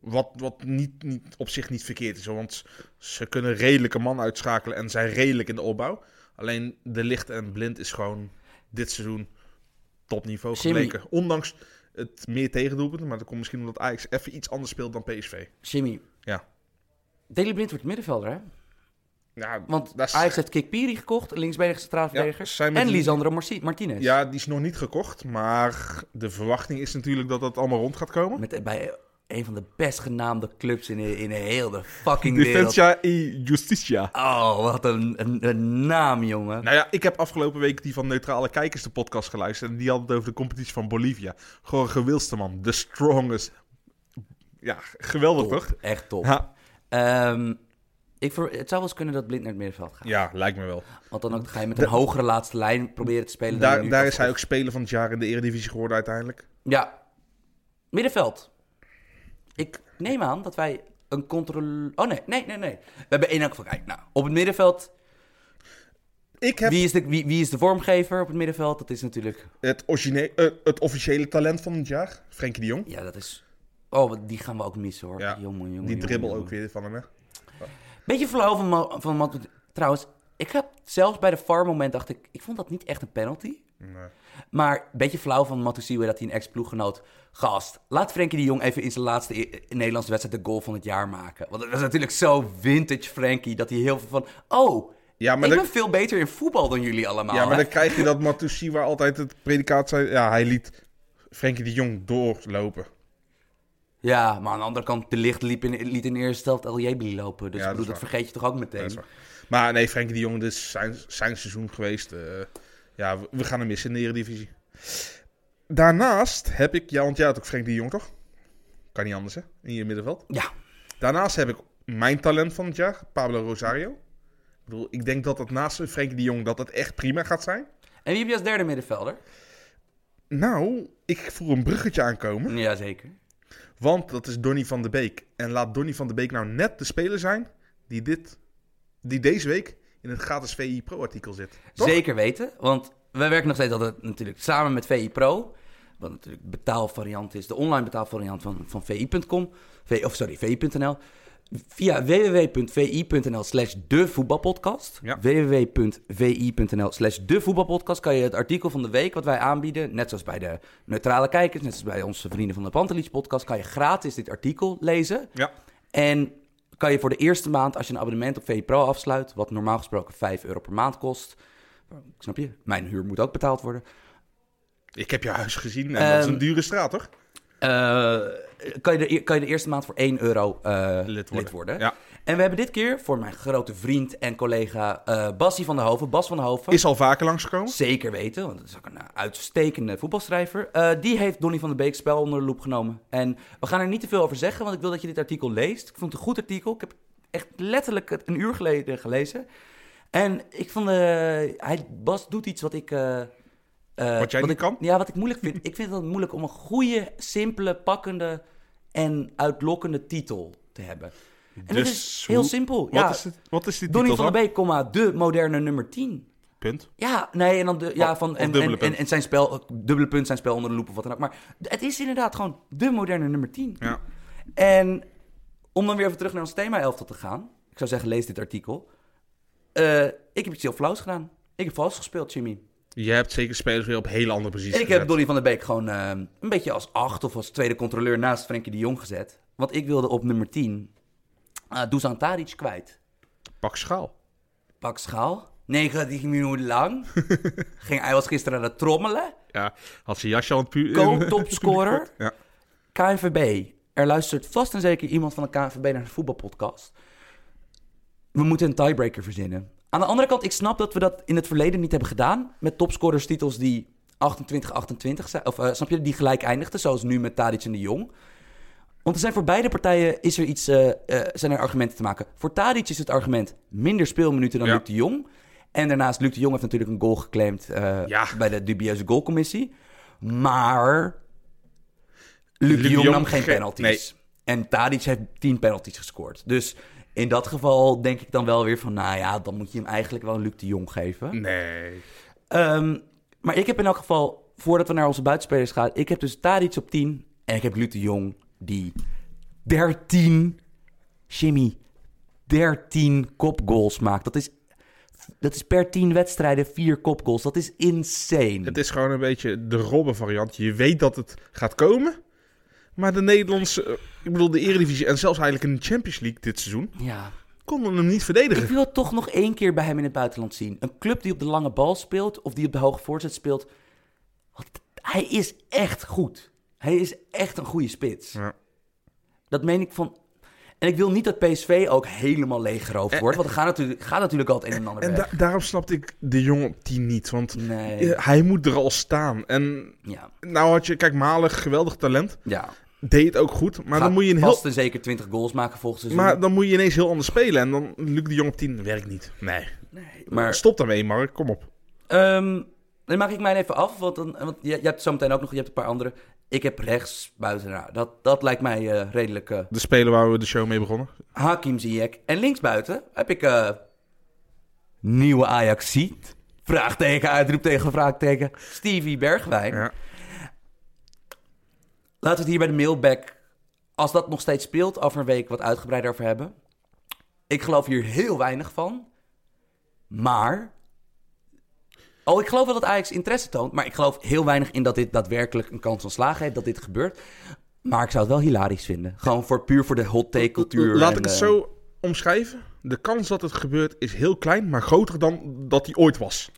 B: Wat, wat niet, niet, op zich niet verkeerd is, hoor, want ze kunnen redelijke man uitschakelen en zijn redelijk in de opbouw. Alleen de licht en blind is gewoon dit seizoen topniveau
A: Jimmy.
B: gebleken. Ondanks het meer tegendoelpunten, maar dat komt misschien omdat Ajax even iets anders speelt dan PSV.
A: Jimmy.
B: Ja.
A: Daley Blind wordt middenvelder, hè?
B: Ja,
A: Want
B: dat is-
A: Ajax heeft Kikpiri gekocht, linksbenige
B: Ja,
A: strafverdediger.
B: zijn met
A: en
B: die-
A: Lisandro Marci- Martinez.
B: ja, die is nog niet gekocht, maar de verwachting is natuurlijk dat dat allemaal rond gaat komen.
A: Met, eh, bij een van de best genaamde clubs in, eh, in heel de fucking wereld.
B: Defensa e Justicia.
A: Oh, wat een, een, een naam, jongen.
B: Nou ja, ik heb afgelopen week die van Neutrale Kijkers de podcast geluisterd. En die had het over de competitie van Bolivia. Jorge Wilsterman, de strongest. Ja, geweldig toch?
A: Top, echt top.
B: Ja.
A: Ehm, ik ver- het zou wel eens kunnen dat Blind naar het middenveld gaat.
B: ja, lijkt me wel.
A: Want dan ook ga je met een hogere laatste lijn proberen te spelen. dan je
B: Daar,
A: nu
B: daar
A: kan.
B: is hij ook speler van het jaar in de Eredivisie geworden uiteindelijk.
A: Ja. Middenveld. Ik neem aan dat wij een controle... Oh nee, nee, nee, nee. We hebben één hak van kijk. Nou, op het middenveld.
B: Ik heb
A: Wie is, de, wie, wie is de vormgever op het middenveld? Dat is natuurlijk...
B: het, origine- eh, het officiële talent van het jaar, Frenkie de Jong.
A: Ja, dat is... Oh, die gaan we ook missen hoor.
B: Ja,
A: jongen, jongen,
B: Die
A: jongen,
B: dribbel
A: jongen.
B: ook weer van hem, hè?
A: Beetje flauw van, Ma- van Mat- Trouwens, ik heb zelfs bij de VAR moment dacht ik... Ik vond dat niet echt een penalty.
B: Nee.
A: Maar een beetje flauw van Matusiwe dat hij een ex-ploeggenoot... Gast, laat Frenkie de Jong even in zijn laatste i- i- Nederlandse wedstrijd de goal van het jaar maken. Want dat was natuurlijk zo vintage Frenkie dat hij heel veel van... Oh,
B: Ja, maar
A: ik
B: dan-
A: ben veel beter in voetbal dan jullie allemaal.
B: Ja, maar
A: hè?
B: dan krijg je dat Matusiwa altijd het predicaat zei. Ja, hij liet Frenkie de Jong doorlopen.
A: ja, maar aan de andere kant, de licht liep in, liet in de eerste helft El Jebeli lopen. Dus
B: Ja,
A: ik bedoel,
B: dat
A: dat
B: is
A: vergeet je toch ook
B: Dat
A: meteen.
B: is waar. Maar nee, Frenkie de Jong, dit is zijn, zijn seizoen geweest. eh, ja, we, we gaan hem missen in de Eredivisie. Daarnaast heb ik... Ja, want jij had ook Frenkie de Jong, toch? Kan niet anders, hè? In je middenveld.
A: ja,
B: Daarnaast heb ik mijn talent van het jaar, Pablo Rosario. Ik bedoel, ik denk dat dat naast Frenkie de Jong dat het echt prima gaat zijn.
A: en wie heb je als derde middenvelder?
B: Nou, ik voel een bruggetje aankomen.
A: Jazeker.
B: Want dat is Donny van de Beek. En laat Donny van de Beek nou net de speler zijn die, dit, die deze week in het gratis VI Pro-artikel zit. Toch?
A: Zeker weten, want wij werken nog steeds altijd natuurlijk samen met VI Pro. Wat natuurlijk betaalvariant is, de online betaalvariant van, van VI.com. V- Of sorry, VI.nl. Via www.vi.nl slash de voetbalpodcast.
B: Ja.
A: www.vi.nl slash de voetbalpodcast kan je het artikel van de week wat wij aanbieden, net zoals bij de neutrale kijkers, net zoals bij onze vrienden van de Pantelis podcast, kan je gratis dit artikel lezen.
B: Ja.
A: En kan je voor de eerste maand, als je een abonnement op VE Pro afsluit, wat normaal gesproken 5 euro per maand kost, Snap je? Mijn huur moet ook betaald worden.
B: Ik heb je huis gezien en dat is
A: Ehm,
B: een dure straat, toch?
A: Eh, kan, je de, kan je de eerste maand voor 1 euro eh, lid worden.
B: Ja.
A: En we hebben dit keer voor mijn grote vriend en collega eh Bassie van der Hoven, Bas van der Hoven.
B: Is al vaker langsgekomen.
A: Zeker weten, want dat is ook een eh, uitstekende voetbalschrijver. Eh, die heeft Donny van der Beek spel onder de loep genomen. En we gaan er niet te veel over zeggen, want ik wil dat je dit artikel leest. Ik vond het een goed artikel. Ik heb echt letterlijk het een uur geleden gelezen. En ik vond, eh, hij, Bas doet iets wat ik... eh, eh,
B: Wat jij niet
A: ik,
B: kan?
A: Ja, wat ik moeilijk vind. ik vind het moeilijk om een goede, simpele, pakkende en uitlokkende titel te hebben. En dat
B: Dus
A: is heel
B: hoe-
A: simpel.
B: Wat,
A: Oh, ja,
B: is het, wat is dit
A: Donny
B: titel
A: van der Beek, comma, de moderne nummer 10.
B: dan? Punt.
A: Ja, nee, en dan de, ja,
B: Of-
A: van,
B: of
A: en,
B: dubbele
A: en,
B: punt.
A: en, en zijn spel, dubbele punt, zijn spel onder de loep of wat dan ook. Maar het is inderdaad gewoon de moderne nummer 10.
B: Ja.
A: En om dan weer even terug naar ons thema elftal te gaan. Ik zou zeggen, lees dit artikel. Eh, ik heb iets heel flauws gedaan. Ik heb vals gespeeld, Jimmy.
B: Je hebt zeker spelers weer op hele andere posities
A: Ik heb
B: gezet.
A: Donny van der Beek gewoon eh, een beetje als acht of als tweede controleur naast Frenkie de Jong gezet. Want ik wilde op nummer 10 eh Dusan Tadic kwijt.
B: Pak schaal.
A: Pak schaal. 90 minuten lang. Ging, hij was gisteren aan het trommelen.
B: Ja, had zijn jasje al een puur...
A: Co-topscorer.
B: Ja.
A: KNVB. Er luistert vast en zeker iemand van de KNVB naar een voetbalpodcast. We moeten een tiebreaker verzinnen. Aan de andere kant, ik snap dat we dat in het verleden niet hebben gedaan. Met topscorerstitels die 28-28 zijn. Of eh, snap je, die gelijk eindigden. Zoals nu met Tadic en de Jong. Want er zijn voor beide partijen is er iets, eh, eh, zijn er argumenten te maken. Voor Tadic is het argument minder speelminuten dan
B: Ja.
A: Luc de Jong. En daarnaast, Luc de Jong heeft natuurlijk een goal geclaimd eh,
B: Ja.
A: bij de dubieuze goalcommissie. Maar Luc,
B: Luc
A: de
B: de
A: Jong
B: Jong
A: nam geen
B: ge-
A: penalties. En Tadic heeft 10 penalties gescoord. Dus in dat geval denk ik dan wel weer van... nou ja, dan moet je hem eigenlijk wel een Luc de Jong geven.
B: Mm. Nee.
A: Ehm, maar ik heb in elk geval, voordat we naar onze buitenspelers gaan... ik heb dus Tadic op 10 en ik heb Luc de Jong die 13... Jimmy, 13 kopgoals maakt. Dat is, dat is per 10 wedstrijden 4 kopgoals. Dat is insane.
B: Het is gewoon een beetje de Robben variant. Je weet dat het gaat komen. Maar de Nederlandse... eh, Ik bedoel, de Eredivisie en zelfs eigenlijk in de Champions League dit seizoen...
A: Ja.
B: konden hem niet verdedigen.
A: Ik wil het toch nog één keer bij hem in het buitenland zien. Een club die op de lange bal speelt of die op de hoge voorzet speelt. Want hij is echt goed. Hij is echt een goede spits.
B: Ja.
A: Dat meen ik van. En ik wil niet dat PSV ook helemaal leeggeroofd wordt. Want er gaat natuurlijk, gaat natuurlijk al het een en ander
B: Eh, En
A: weg.
B: da- daarom snapte ik de jongen op 10 niet. Want
A: Nee.
B: eh, hij moet er al staan. En
A: Ja.
B: nou had je... Kijk, Malen, geweldig talent.
A: ja.
B: Deed het ook goed. Maar dan
A: Gaat
B: moet je een heel...
A: vast en zeker 20 goals maken volgens seizoen.
B: Maar dan moet je ineens heel anders spelen. En dan Luc de Jong op 10 werkt niet. Nee.
A: maar
B: Stop daarmee, Mark. Kom op.
A: Ehm, dan maak ik mij even af, want, dan, want je, je hebt zo meteen ook nog je hebt een paar andere. Ik heb rechts buiten. Nou, dat, dat lijkt mij eh, redelijk. eh,
B: De speler waar we de show mee begonnen.
A: Hakim Ziyech. En linksbuiten heb ik... eh, nieuwe ajax Vraagteken, uitroepteken, vraagteken. Stevie Bergwijn.
B: Ja.
A: Laten we het hier bij de mailback, als dat nog steeds speelt, over een week wat uitgebreider over hebben. Ik geloof hier heel weinig van. Maar... Oh, ik geloof wel dat Ajax interesse toont. Maar ik geloof heel weinig in dat dit daadwerkelijk een kans van slagen heeft, dat dit gebeurt. Maar ik zou het wel hilarisch vinden. Gewoon voor, puur voor de hot take cultuur.
B: Laat
A: en,
B: ik het
A: eh,
B: zo omschrijven. De kans dat het gebeurt is heel klein, maar groter dan dat hij ooit was.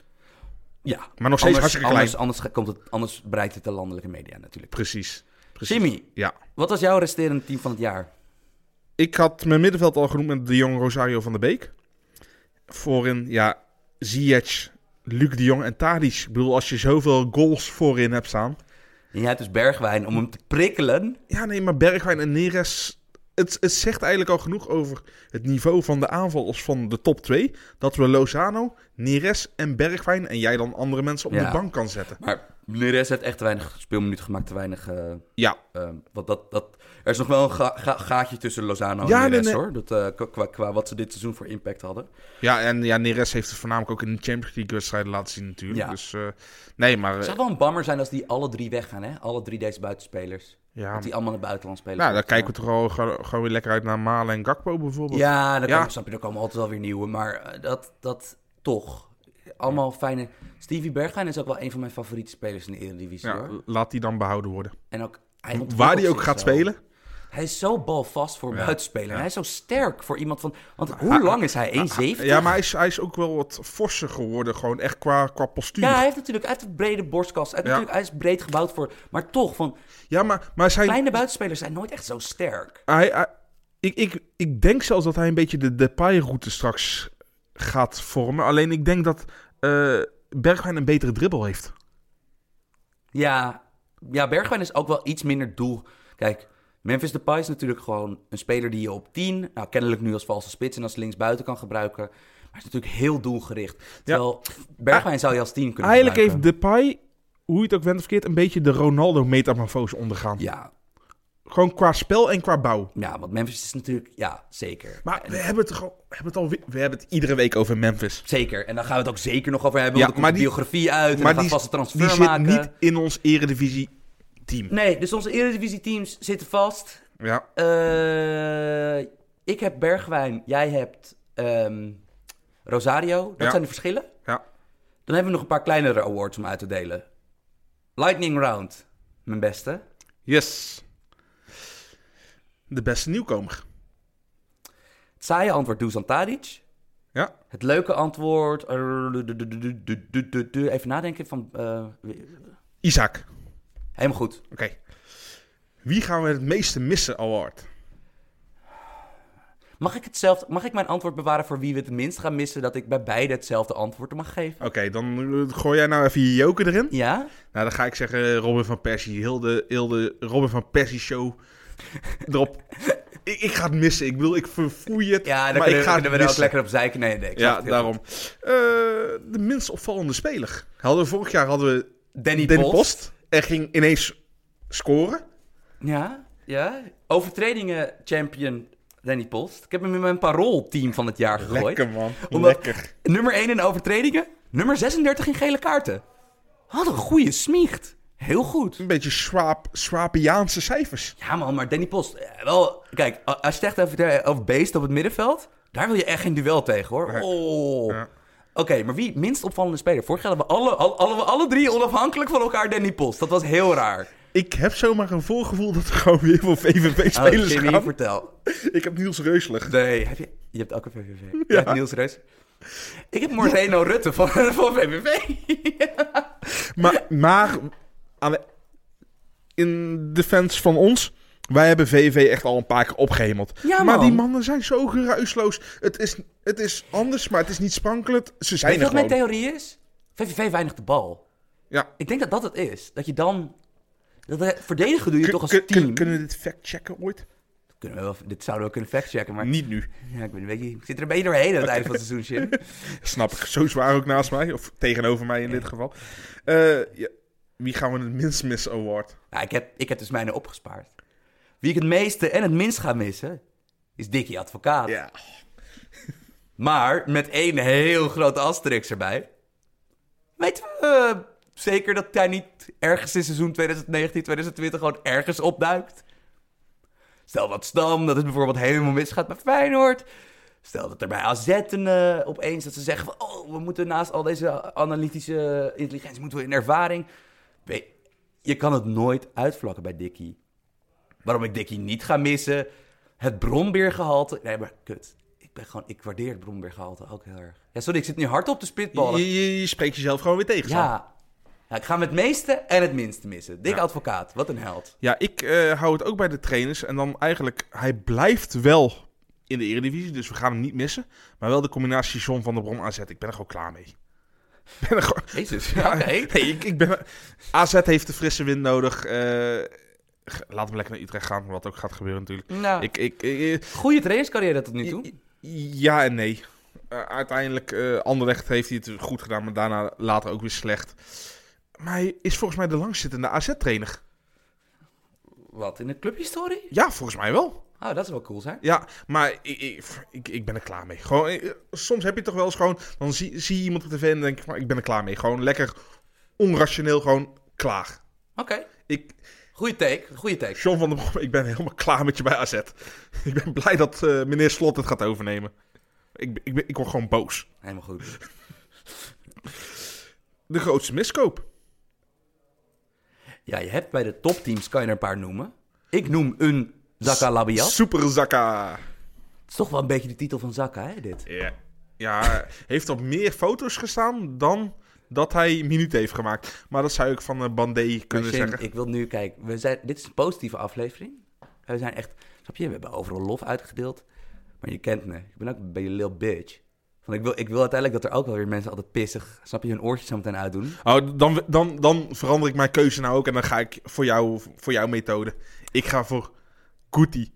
A: Ja.
B: Maar nog steeds hartstikke klein.
A: Anders, anders, ge- komt het, anders bereikt het de landelijke media natuurlijk.
B: Precies. Precies.
A: Jimmy,
B: Ja.
A: wat was jouw resterende team van het jaar?
B: Ik had mijn middenveld al genoemd met de jong Rosario van der Beek. Voorin, ja, Ziyech, Luc de Jong en Tadic. Ik bedoel, als je zoveel goals voorin hebt staan.
A: En jij hebt dus Bergwijn om hem te prikkelen.
B: Ja, nee, maar Bergwijn en Neres... Het, het zegt eigenlijk al genoeg over het niveau van de aanvallers van de top 2. Dat we Lozano, Neres en Bergwijn en jij dan andere mensen op
A: Ja.
B: de bank kan zetten.
A: Maar Neres heeft echt te weinig speelminuten gemaakt, te weinig... eh,
B: Ja,
A: eh, want dat, dat, er is nog wel een ga- ga- gaatje tussen Lozano
B: Ja,
A: en
B: nee,
A: Neres,
B: nee.
A: hoor. Dat, eh, qua- qua, qua wat ze dit seizoen voor impact hadden.
B: ja en ja, Neres heeft het voornamelijk ook in de Champions League wedstrijden laten zien natuurlijk.
A: Ja.
B: Dus eh, nee, maar...
A: Het
B: eh,
A: zou wel een bammer zijn als die alle drie weggaan, hè? Alle drie deze buitenspelers.
B: ja,
A: Dat die allemaal naar het buitenland spelen.
B: nou, dan kijken we toch al gewoon gewoon weer lekker uit naar Malen en Gakpo bijvoorbeeld.
A: Ja, daar
B: Ja.
A: Komen, snap je, er komen altijd wel weer nieuwe. Maar eh, dat, dat toch. Allemaal fijne. Stevie Bergwijn is ook wel een van mijn favoriete spelers in de Eredivisie.
B: Ja,
A: Hoor.
B: laat die dan behouden worden.
A: En ook, hij
B: Waar
A: ontwikkelt
B: die ook
A: zich
B: gaat
A: zo.
B: spelen.
A: Hij is zo balvast voor een
B: Ja.
A: buitenspeler. En
B: Ja.
A: hij is zo sterk voor iemand van... Want hoe lang is hij? 1,70?
B: Ja, maar hij is, hij is ook wel wat forser geworden, gewoon echt qua, qua postuur.
A: Ja, hij
B: Ja,
A: heeft natuurlijk uit een brede borstkast. Hij, heeft
B: Ja.
A: natuurlijk, hij is breed gebouwd voor... Maar toch, van
B: maar, maar zijn,
A: kleine buitenspelers zijn nooit echt zo sterk.
B: hij, hij- ik, ik, ik denk zelfs dat hij een beetje de Depay-route straks gaat vormen. Alleen ik denk dat eh, Bergwijn een betere dribbel heeft.
A: Ja, ja, Bergwijn is ook wel iets minder doel. Kijk, Memphis Depay is natuurlijk gewoon een speler die je op 10... Nou, kennelijk nu als valse spits en als linksbuiten kan gebruiken... Maar hij is natuurlijk heel doelgericht. Terwijl Bergwijn zou je als 10 kunnen
B: Eigenlijk
A: gebruiken.
B: heeft Depay, hoe je het ook wendt of keert, een beetje de Ronaldo-metamorfose ondergaan.
A: Ja,
B: Gewoon qua spel en qua bouw.
A: ja, want Memphis is natuurlijk... Ja, zeker.
B: Maar we hebben het, gewoon, we hebben het, al, we hebben het iedere week over Memphis.
A: Zeker. En daar gaan we het ook zeker nog over hebben.
B: Ja,
A: want er
B: maar
A: komt de
B: die-
A: biografie uit. En
B: maar
A: maar gaat vast een transfer
B: die zit
A: maken.
B: niet in ons eredivisie-team.
A: Nee, dus onze eredivisie-teams zitten vast.
B: Ja.
A: Eh, ik heb Bergwijn. Jij hebt ehm, Rosario. Dat
B: Ja.
A: zijn de verschillen.
B: Ja.
A: Dan hebben we nog een paar kleinere awards om uit te delen. Lightning Round. Mijn beste.
B: Yes. De beste nieuwkomer.
A: Het saaie antwoord Dusan Tadic.
B: Ja.
A: Het leuke antwoord... eh, Even nadenken van... eh,
B: Isaac.
A: helemaal goed.
B: Oké. Wie gaan we het meeste missen, Award?
A: Mag ik, hetzelfde, mag ik mijn antwoord bewaren voor wie we het minst gaan missen? Dat ik bij beide hetzelfde antwoord mag geven?
B: Oké, dan eh, gooi jij nou even je joker erin.
A: Ja?
B: Nou, dan ga ik zeggen eh, Robin van Persie. Heel de, heel de Robin van Persie show erop. ik, ik ga het missen. Ik bedoel, ik verfoei het.
A: Ja, dan
B: maar
A: kunnen,
B: ik ga
A: kunnen
B: het
A: we er ook
B: missen.
A: lekker op zeiken. Nee, nee, ik snap
B: Ja,
A: het heel
B: daarom. Eh, de minst opvallende speler. Hadden we vorig jaar hadden we
A: goed. Danny,
B: Danny
A: Post.
B: Post. En ging ineens scoren.
A: Ja, ja. Overtredingen champion Danny Post. Ik heb hem in mijn paroolteam van het jaar gegooid.
B: Lekker, man.
A: Omdat-
B: Lekker.
A: Nummer 1 in overtredingen. Nummer 36 in gele kaarten. Had een goede smiecht. Heel goed.
B: Een beetje Swaap, Swapiaanse cijfers.
A: Ja man, maar Danny Post, eh, wel, kijk, a- als je het echt even over beest op het middenveld, daar wil je echt geen duel tegen hoor. Oh.
B: Ja.
A: Oké, maar wie minst opvallende speler? Vorig jaar hadden we alle, alle, alle, alle drie onafhankelijk van elkaar Danny Post. Dat was heel raar.
B: Ik heb zomaar een voorgevoel dat er gewoon weer veel
A: Oh,
B: VVV-spelers
A: Jimmy,
B: gaan.
A: vertel.
B: Ik heb Niels Reuselig.
A: Nee, heb je, je hebt ook een VVV. Je hebt Niels Reus. Ik heb Moreno Rutte van, van VVV.
B: Maar, maar aan de- in defense van ons, wij hebben VVV echt al een paar keer opgehemeld.
A: Ja,
B: Maar
A: man.
B: die mannen zijn zo geruisloos. Het is, het is anders, maar het is niet sprankelend. Ze
A: Weet
B: zijn
A: je
B: er
A: wat mijn
B: gewoon.
A: theorie is? VVV weinig de bal.
B: Ja.
A: Ik denk dat dat het is. Dat je dan... Dat eh, verdedigen doe je toch als
B: Kun-
A: team.
B: kun- kunnen we dit factchecken ooit?
A: Kunnen we wel- dit zouden we kunnen factchecken, maar...
B: Niet nu.
A: Ja, ik, ben een beetje, ik zit er een beetje doorheen aan het einde van het seizoen, Jim.
B: Snap ik. Zo zwaar ook naast mij. Of tegenover mij in dit geval. Eh, ja. Wie gaan we het minst missen award?
A: Nou, ik, heb, ik heb dus mijne opgespaard. Wie ik het meeste en het minst ga missen, is Dickie Advocaat.
B: Ja.
A: Maar met één heel grote asterix erbij. Weten we eh, zeker dat hij niet ergens in seizoen 2019, 2020 gewoon ergens opduikt? Stel dat Stam, dat het bijvoorbeeld helemaal misgaat bij Feyenoord. Stel dat er bij AZ een, eh, opeens dat ze zeggen van... Oh, we moeten naast al deze analytische intelligentie moeten we in ervaring. Weet- je kan het nooit uitvlakken bij Dickie. Waarom ik Dickie niet ga missen. Het bronbeergehalte. Nee, maar kut. Ik ben gewoon... Ik waardeer het bronbeergehalte ook heel erg. Ja, sorry, ik zit nu hard op de
B: Je,
A: spitballen.
B: je, je spreekt jezelf gewoon weer tegen. Sam.
A: Ja. ja, ik ga hem het meeste en het minste missen. Dikke advocaat, wat een held.
B: Ja, ik eh, hou het ook bij de trainers. En dan eigenlijk, hij blijft wel in de eredivisie, dus we gaan hem niet missen. Maar wel de combinatie John van der Brom AZ. Ik ben er gewoon klaar mee. Ik ben er gewoon...
A: Jezus, ja, oké.
B: Nee, ik, ik ben er- AZ heeft de frisse wind nodig. Eh, g- laat hem lekker naar Utrecht gaan, wat ook gaat gebeuren natuurlijk.
A: Nou,
B: Ik, ik, eh,
A: goede trainerscarrière tot nu toe.
B: ja en nee. Eh, uiteindelijk, eh Anderlecht heeft hij het goed gedaan, maar daarna later ook weer slecht. Maar hij is volgens mij de langzittende AZ-trainer.
A: Wat, in de clubhistorie?
B: Ja, volgens mij wel.
A: Oh, dat zou wel cool zijn.
B: Ja, maar ik, ik, ik, ik ben er klaar mee. Gewoon, eh, soms heb je toch wel eens gewoon... Dan zie, zie je iemand op tv en dan denk ik van... Ik ben er klaar mee. Gewoon lekker onrationeel gewoon klaar.
A: Oké,
B: Ik,
A: goede take, goede take.
B: John van der Brom, ik ben helemaal klaar met je bij AZ. Ik ben blij dat eh, meneer Slot het gaat overnemen. Ik, ik, ben- ik word gewoon boos.
A: Helemaal goed.
B: De grootste miskoop.
A: Ja, je hebt bij de topteams, kan je er een paar noemen. Ik noem een Zaka Labiat.
B: Super Zaka.
A: Het is toch wel een beetje de titel van Zaka, hè, dit?
B: Ja. Ja, heeft op meer foto's gestaan dan dat hij minuten heeft gemaakt. Maar dat zou ik van eh Bandé kunnen
A: Maar Shin,
B: zeggen.
A: Ik wil nu kijken. We zijn, dit is een positieve aflevering. We zijn echt. Snap je? We hebben overal lof uitgedeeld. Maar je kent me. Ik ben ook bij je lil bitch. Want ik wil, ik wil uiteindelijk dat er ook wel weer mensen altijd pissig. Snap je? Hun oortjes zo meteen uitdoen.
B: Oh, dan, dan, dan verander ik mijn keuze nou ook en dan ga ik voor, jou, voor jouw methode. Ik ga voor Guti.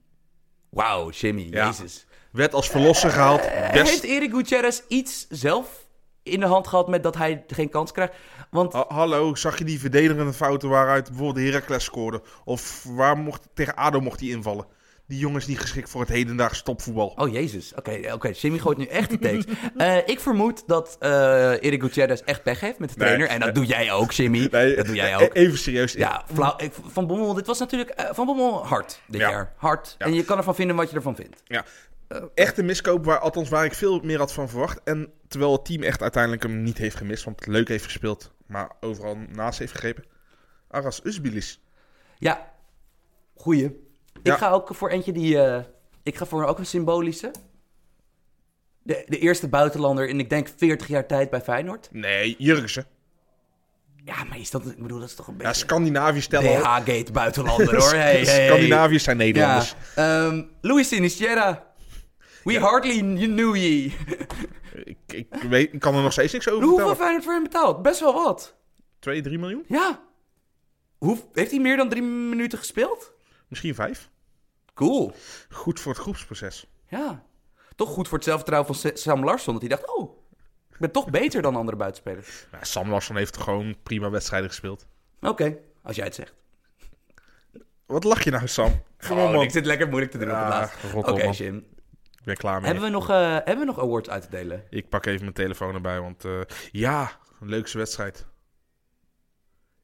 A: Wauw, Jimmy.
B: Ja.
A: Jezus.
B: Werd als verlosser gehaald.
A: Heeft
B: Best...
A: Erik Gutierrez iets zelf in de hand gehad met dat hij geen kans krijgt? Want
B: Ha- hallo, zag je die verdedigende fouten waaruit bijvoorbeeld Heracles scoorde? Of waar mocht, tegen ADO mocht hij invallen? Die jongen is niet geschikt voor het hedendaags topvoetbal.
A: Oh jezus, oké, oké. Jimmy gooit nu echt de takes. Eh, ik vermoed dat eh Erik Gutierrez echt pech heeft met de
B: Nee,
A: trainer. en dat doe jij ook, Jimmy.
B: Nee,
A: dat doe jij
B: e-
A: ook.
B: Even serieus.
A: Ja, flauw. Ik- Van Bommel, dit was natuurlijk eh, Van Bommel hard dit
B: Ja.
A: jaar. Hard.
B: Ja.
A: En je kan ervan vinden wat je ervan vindt.
B: Ja. Echt een miskoop, waar, althans waar ik veel meer had van verwacht. En terwijl het team echt uiteindelijk hem niet heeft gemist, want het leuk heeft gespeeld, maar overal naast heeft gegrepen. Aras Usbilis.
A: Ja, goeie.
B: Ja.
A: Ik ga ook voor eentje die... eh, ik ga voor ook een symbolische. De, de eerste buitenlander in, ik denk, 40 jaar tijd bij Feyenoord.
B: Nee, Jurgensen.
A: Ja, maar is dat... Ik bedoel, dat is toch een
B: Ja,
A: beetje...
B: Scandinavië stellen. al.
A: DH-gate buitenlander, hoor. Hey, hey.
B: Scandinaviërs zijn Nederlanders.
A: Ja. ehm, Luis Sinisterra. We
B: Ja.
A: hardly knew ye.
B: Ik, ik, weet, ik kan er nog steeds niks over
A: Hoeveel
B: vertellen.
A: Feyenoord voor hem betaald? Best wel wat.
B: 2, 3 miljoen?
A: Ja. Hoe, heeft hij meer dan drie minuten gespeeld?
B: Misschien 5.
A: Cool.
B: Goed voor het groepsproces.
A: Ja. Toch goed voor het zelfvertrouwen van Sa- Sam Larsson. Dat hij dacht, oh, ik ben toch beter dan andere buitenspelers.
B: Nou, Sam Larsson heeft gewoon prima wedstrijden gespeeld.
A: Oké, als jij het zegt.
B: Wat lach je nou, Sam? Gewoon,
A: Oh,
B: man.
A: ik zit lekker moeilijk te doen Ah, op het
B: Ja,
A: laatst.
B: rot op,
A: Oké,
B: man.
A: Jim.
B: Ik ben klaar mee.
A: Hebben, we nog, eh, hebben we nog awards uit te delen?
B: Ik pak even mijn telefoon erbij, want eh, ja, een leukste wedstrijd.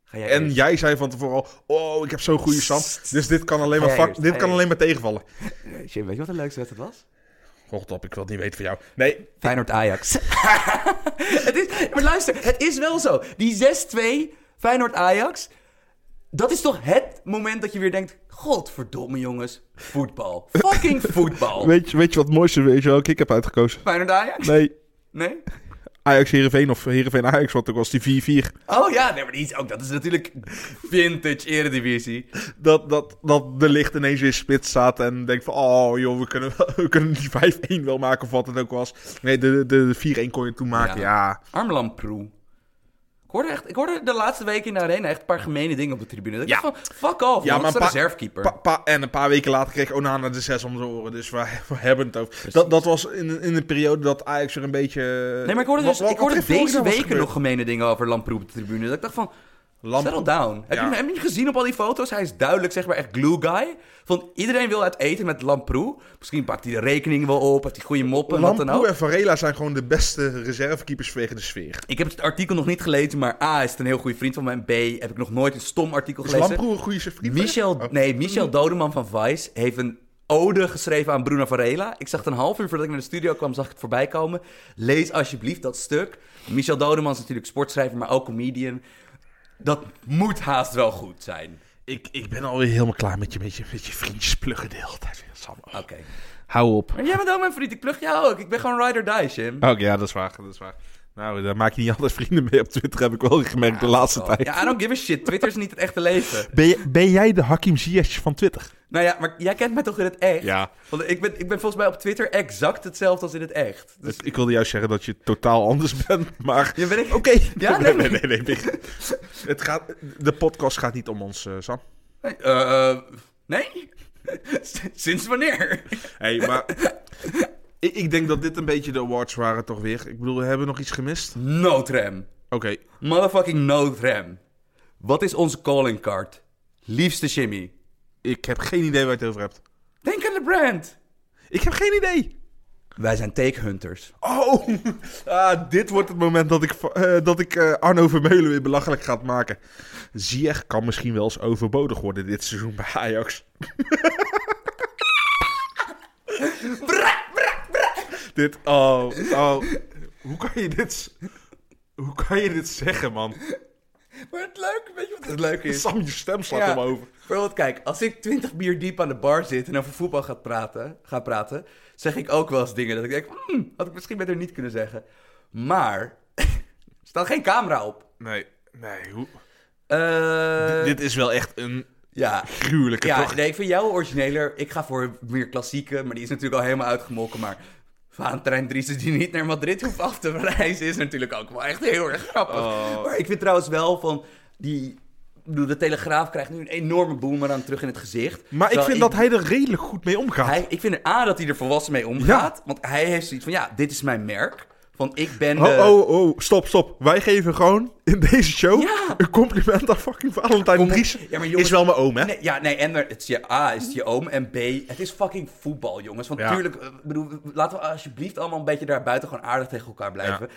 A: Ga jij
B: En
A: eerst?
B: jij zei van tevoren al, oh, ik heb zo'n goede Sam. Dus dit kan alleen maar,
A: Ga jij
B: vak-
A: eerst,
B: dit
A: ga
B: kan
A: jij
B: alleen maar tegenvallen.
A: Eh, Jim, weet je wat de leukste wedstrijd was?
B: Rocht op, ik wil het niet weten van jou. Nee,
A: Feyenoord Ajax. het is, maar luister, het is wel zo. Die 6-2 Feyenoord Ajax. Dat is toch het moment dat je weer denkt: Godverdomme jongens, voetbal. Fucking voetbal.
B: weet je, weet je wat het mooiste is welke ik heb uitgekozen?
A: Feyenoord Ajax?
B: Nee,
A: Nee?
B: Ajax Heerenveen of Heerenveen Ajax, want ook was die 4-4.
A: Oh ja, nee, maar die is ook, dat is natuurlijk vintage eredivisie.
B: Dat, dat, dat de licht ineens weer spits staat en denkt van, oh joh, we kunnen, wel- we kunnen die 5-1 wel maken of wat het ook was. Nee, de, de, de 4-1 kon je toen maken, ja.
A: Armland Proe. Ik hoorde, echt, ik hoorde de laatste weken in de arena echt een paar gemene dingen op de tribune. Dat ik
B: Ja.
A: dacht van, fuck off, ja,
B: Ja,
A: man,
B: maar
A: dat is de
B: pa-
A: reservekeeper.
B: Pa- pa- en een paar weken later kreeg Onana de 6 om zijn oren, dus we, we hebben het
A: Dus-
B: over. Dat, dat was in, in de periode dat Ajax er een beetje...
A: nee, maar ik hoorde,
B: Wat-
A: dus,
B: wat-
A: ik hoorde
B: wat er vorige
A: deze
B: keer was
A: weken
B: gebeurd.
A: nog gemene dingen over Lamproe op de tribune. Dat ik dacht van,
B: Lam-
A: Settle down. Heb,
B: Ja.
A: je, heb je hem gezien op al die foto's? Hij is duidelijk, zeg maar, echt glue guy. Van iedereen wil uit eten met Lamproe. Misschien pakt hij de rekening wel op, heeft hij goede moppen en wat dan
B: Lamproe
A: ook.
B: en Varela zijn gewoon de beste reservekeepers vanwege de sfeer.
A: Ik heb het artikel nog niet gelezen, maar A is het een heel goede vriend van mij. En B heb ik nog nooit een stom artikel
B: Is
A: gelezen.
B: Lamproe een goede vriend?
A: Michel, nee, Michel Dodeman van Vice heeft een ode geschreven aan Bruno Varela. Ik zag het een half uur voordat ik naar de studio kwam, zag ik het voorbij komen. Lees alsjeblieft dat stuk. Michel Dodeman is natuurlijk sportschrijver, maar ook comedian. Dat moet haast wel goed zijn.
B: Ik, ik ben alweer helemaal klaar met je, met je, met je vriendjes pluggen de hele tijd. weer, Sam.
A: Oké.
B: Eh, Hou op.
A: Maar jij bent ook mijn vriend, ik plug jou ook. Ik ben gewoon ride or die, Jim.
B: Oké, ja, dat is waar, dat is waar. Nou, daar maak je niet altijd vrienden mee op Twitter, heb ik wel gemerkt de laatste tijd.
A: Ja, I don't give a shit. Twitter is niet het echte leven.
B: Ben, je- ben jij de Hakim Ziyech van Twitter?
A: Nou ja, maar jij kent mij toch in het echt?
B: Ja.
A: Want ik ben, ik ben volgens mij op Twitter exact hetzelfde als in het echt. Dus
B: Ik wilde juist zeggen dat je totaal anders bent, maar...
A: je bent ik...
B: Oké.
A: Ja,
B: nee,
A: nee,
B: nee, nee. nee. Het gaat, de podcast gaat niet om ons, eh, Sam.
A: Nee, eh, eh, nee? S- Sinds wanneer?
B: Hé, maar... ik, ik denk dat dit een beetje de awards waren toch weer. Ik bedoel, hebben we nog iets gemist? Oké.
A: Noodrem. Motherfucking noodrem. Wat is onze calling card? Liefste Jimmy.
B: Ik heb geen idee waar je het over hebt.
A: Denk aan de brand.
B: Ik heb geen idee.
A: Wij zijn takehunters.
B: Oh, ah, dit wordt het moment dat ik, va- eh, dat ik eh, Arno Vermeulen weer belachelijk gaat maken. Ziyech kan misschien wel eens overbodig worden dit seizoen bij Ajax.
A: Bra, bra, bra.
B: Dit, oh, oh. Hoe kan je dit, s- hoe kan je dit zeggen, man?
A: Maar het leuke, weet je wat het leuke is?
B: Sam, je stem slaat
A: Ja.
B: hem over.
A: Bijvoorbeeld, kijk, als ik twintig bier diep aan de bar zit en over voetbal ga praten, ga praten, zeg ik ook wel eens dingen dat ik denk, "Hmm, had ik misschien beter niet kunnen zeggen. Maar, er staat geen camera op.
B: Nee, nee. Hoe...
A: Eh,
B: Dit is wel echt een
A: ja,
B: gruwelijke
A: ja
B: tocht.
A: nee, ik vind jou origineler. Ik ga voor meer klassieke, maar die is natuurlijk al helemaal uitgemolken. Maar Vaantrein Driessen die niet naar Madrid hoeft af te reizen... is natuurlijk ook wel echt heel erg grappig.
B: Oh.
A: Maar ik vind trouwens wel van die... ik bedoel, De Telegraaf krijgt nu een enorme boemerang terug in het gezicht.
B: Maar ik
A: Terwijl
B: vind dat hij er redelijk goed mee omgaat.
A: hij, ik vind er A, dat hij er volwassen mee omgaat. Want hij heeft zoiets van, ja, dit is mijn merk. Van, ik ben de...
B: Oh, oh, oh, stop, stop. Wij geven gewoon in deze show
A: Ja.
B: een compliment aan fucking Valentijn
A: Kom op.
B: Dries.
A: Ja, maar jongens-
B: is wel mijn oom, hè?
A: Nee, ja, nee, en er- het is je A, is het je oom. En B, het is fucking voetbal, jongens. Want
B: Ja.
A: tuurlijk, eh, ik bedoel, laten we alsjeblieft allemaal een beetje daar buiten gewoon aardig tegen elkaar blijven.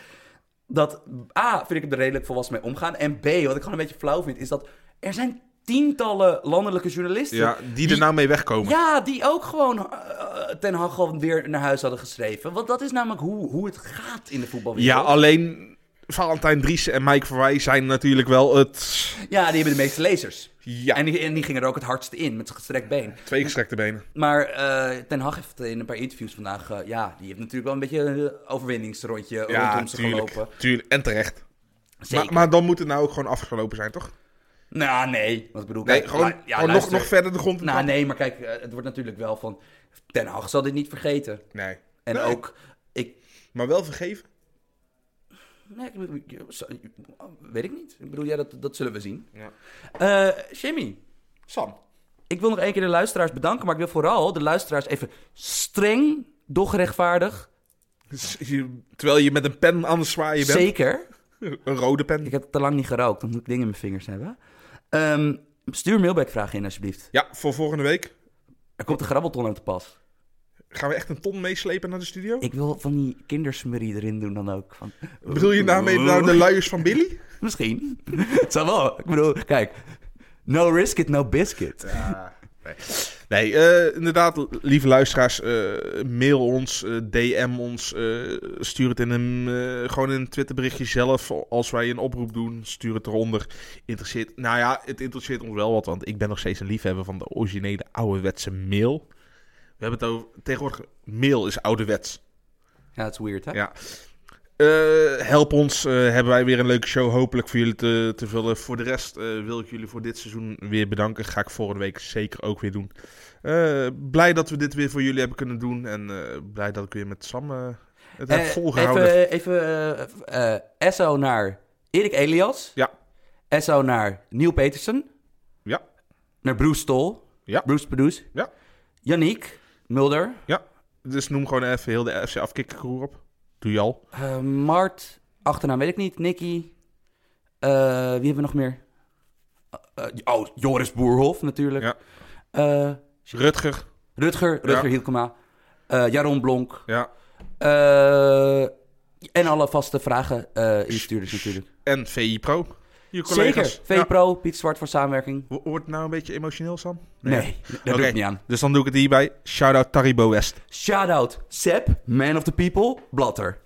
A: Dat A, vind ik hem er redelijk volwassen mee omgaan. En B, wat ik gewoon een beetje flauw vind, is dat er zijn tientallen landelijke journalisten.
B: Ja, die er nou mee wegkomen.
A: Ja, die ook gewoon eh, Ten Hag gewoon weer naar huis hadden geschreven. Want dat is namelijk hoe, hoe het gaat in de
B: Ja,
A: voetbalwereld.
B: alleen Valentijn Dries en Mike Verwij zijn natuurlijk wel het...
A: Ja, die hebben de meeste lezers.
B: Ja,
A: En, die, en die gingen er ook het hardst in, met zijn gestrekt been.
B: twee gestrekte benen.
A: Maar eh, Ten Hag heeft in een paar interviews vandaag... eh, ja, die heeft natuurlijk wel een beetje een overwinningsrondje rondom zich gelopen.
B: tuurlijk. En terecht.
A: Zeker.
B: Maar, maar dan moet het nou ook gewoon afgelopen zijn, toch?
A: Nou, nee. Wat ik bedoel,
B: Nee,
A: kijk,
B: gewoon,
A: la- ja,
B: gewoon nog,
A: luister.
B: nog verder de grond in
A: Nou,
B: trappen.
A: nee, maar kijk, eh, het wordt natuurlijk wel van... Ten Hag zal dit niet vergeten.
B: nee.
A: En
B: Nee,
A: ook... Ik,
B: Maar wel vergeven.
A: nee, ik- ik- zo- weet ik niet. Ik bedoel, ja, dat, dat zullen we zien.
B: Ja.
A: Eh Jimmy,
B: Sam.
A: ik wil nog één keer de luisteraars bedanken... maar ik wil vooral de luisteraars even streng, doch rechtvaardig...
B: Dus je- terwijl je met een pen aan het zwaaien bent.
A: zeker...
B: Een rode pen.
A: Ik heb te lang niet gerookt, dan moet ik dingen in mijn vingers hebben. Ehm, stuur mailbackvragen in, alsjeblieft.
B: Ja, voor volgende week.
A: Er komt de grabbelton aan te pas.
B: Gaan we echt een ton meeslepen naar de studio?
A: Ik wil van die kindersmurrie erin doen dan ook. Van,
B: Bedoel je daarmee nou de luiers van Billy?
A: Misschien. Het zou wel. Ik bedoel, kijk. No risk it, no biscuit.
B: nee, nee eh, inderdaad, lieve luisteraars, eh, mail ons, eh, DM ons, eh, stuur het in een, eh, gewoon in een Twitterberichtje zelf. Als wij een oproep doen, stuur het eronder. Interesseert, nou ja, het interesseert ons wel wat, want ik ben nog steeds een liefhebber van de originele ouderwetse mail. We hebben het over, tegenwoordig, mail is ouderwets.
A: Ja, dat is weird, hè?
B: Ja. Eh, help ons. eh, hebben wij weer een leuke show hopelijk voor jullie te, te vullen. Voor de rest eh, wil ik jullie voor dit seizoen weer bedanken. Ga ik volgende week zeker ook weer doen. Eh, blij dat we dit weer voor jullie hebben kunnen doen. En eh, blij dat ik weer met Sam eh, het heb
A: Eh, even
B: volgehouden.
A: even eh, eh, SO naar Erik Elias.
B: Ja.
A: SO naar Neil Petersen.
B: Ja.
A: Naar Bruce Stol.
B: Ja.
A: Bruce Pedoes.
B: Ja.
A: Yannick Mulder.
B: Dus noem gewoon even heel de FC afkikkercrew op. Doe je al.
A: Eh, Mart, achternaam weet ik niet. Nicky. Eh, wie hebben we nog meer? Eh, eh, oh, Joris Boerhof natuurlijk.
B: Ja.
A: Eh,
B: Rutger.
A: Rutger, Rutger Hielkema. Eh, Jaron Blonk.
B: Ja.
A: Eh, en alle vaste vragen eh instuurders natuurlijk.
B: En VI Pro. Je
A: Zeker.
B: collega's. Ja.
A: VPro, Piet Zwart voor samenwerking.
B: Wo- Wordt het nou een beetje emotioneel, Sam?
A: Nee, daar doe
B: Oké.
A: ik niet aan.
B: Dus dan doe ik het hierbij. Shout-out Taribo West.
A: Shout-out Seb, man of the people, Blatter.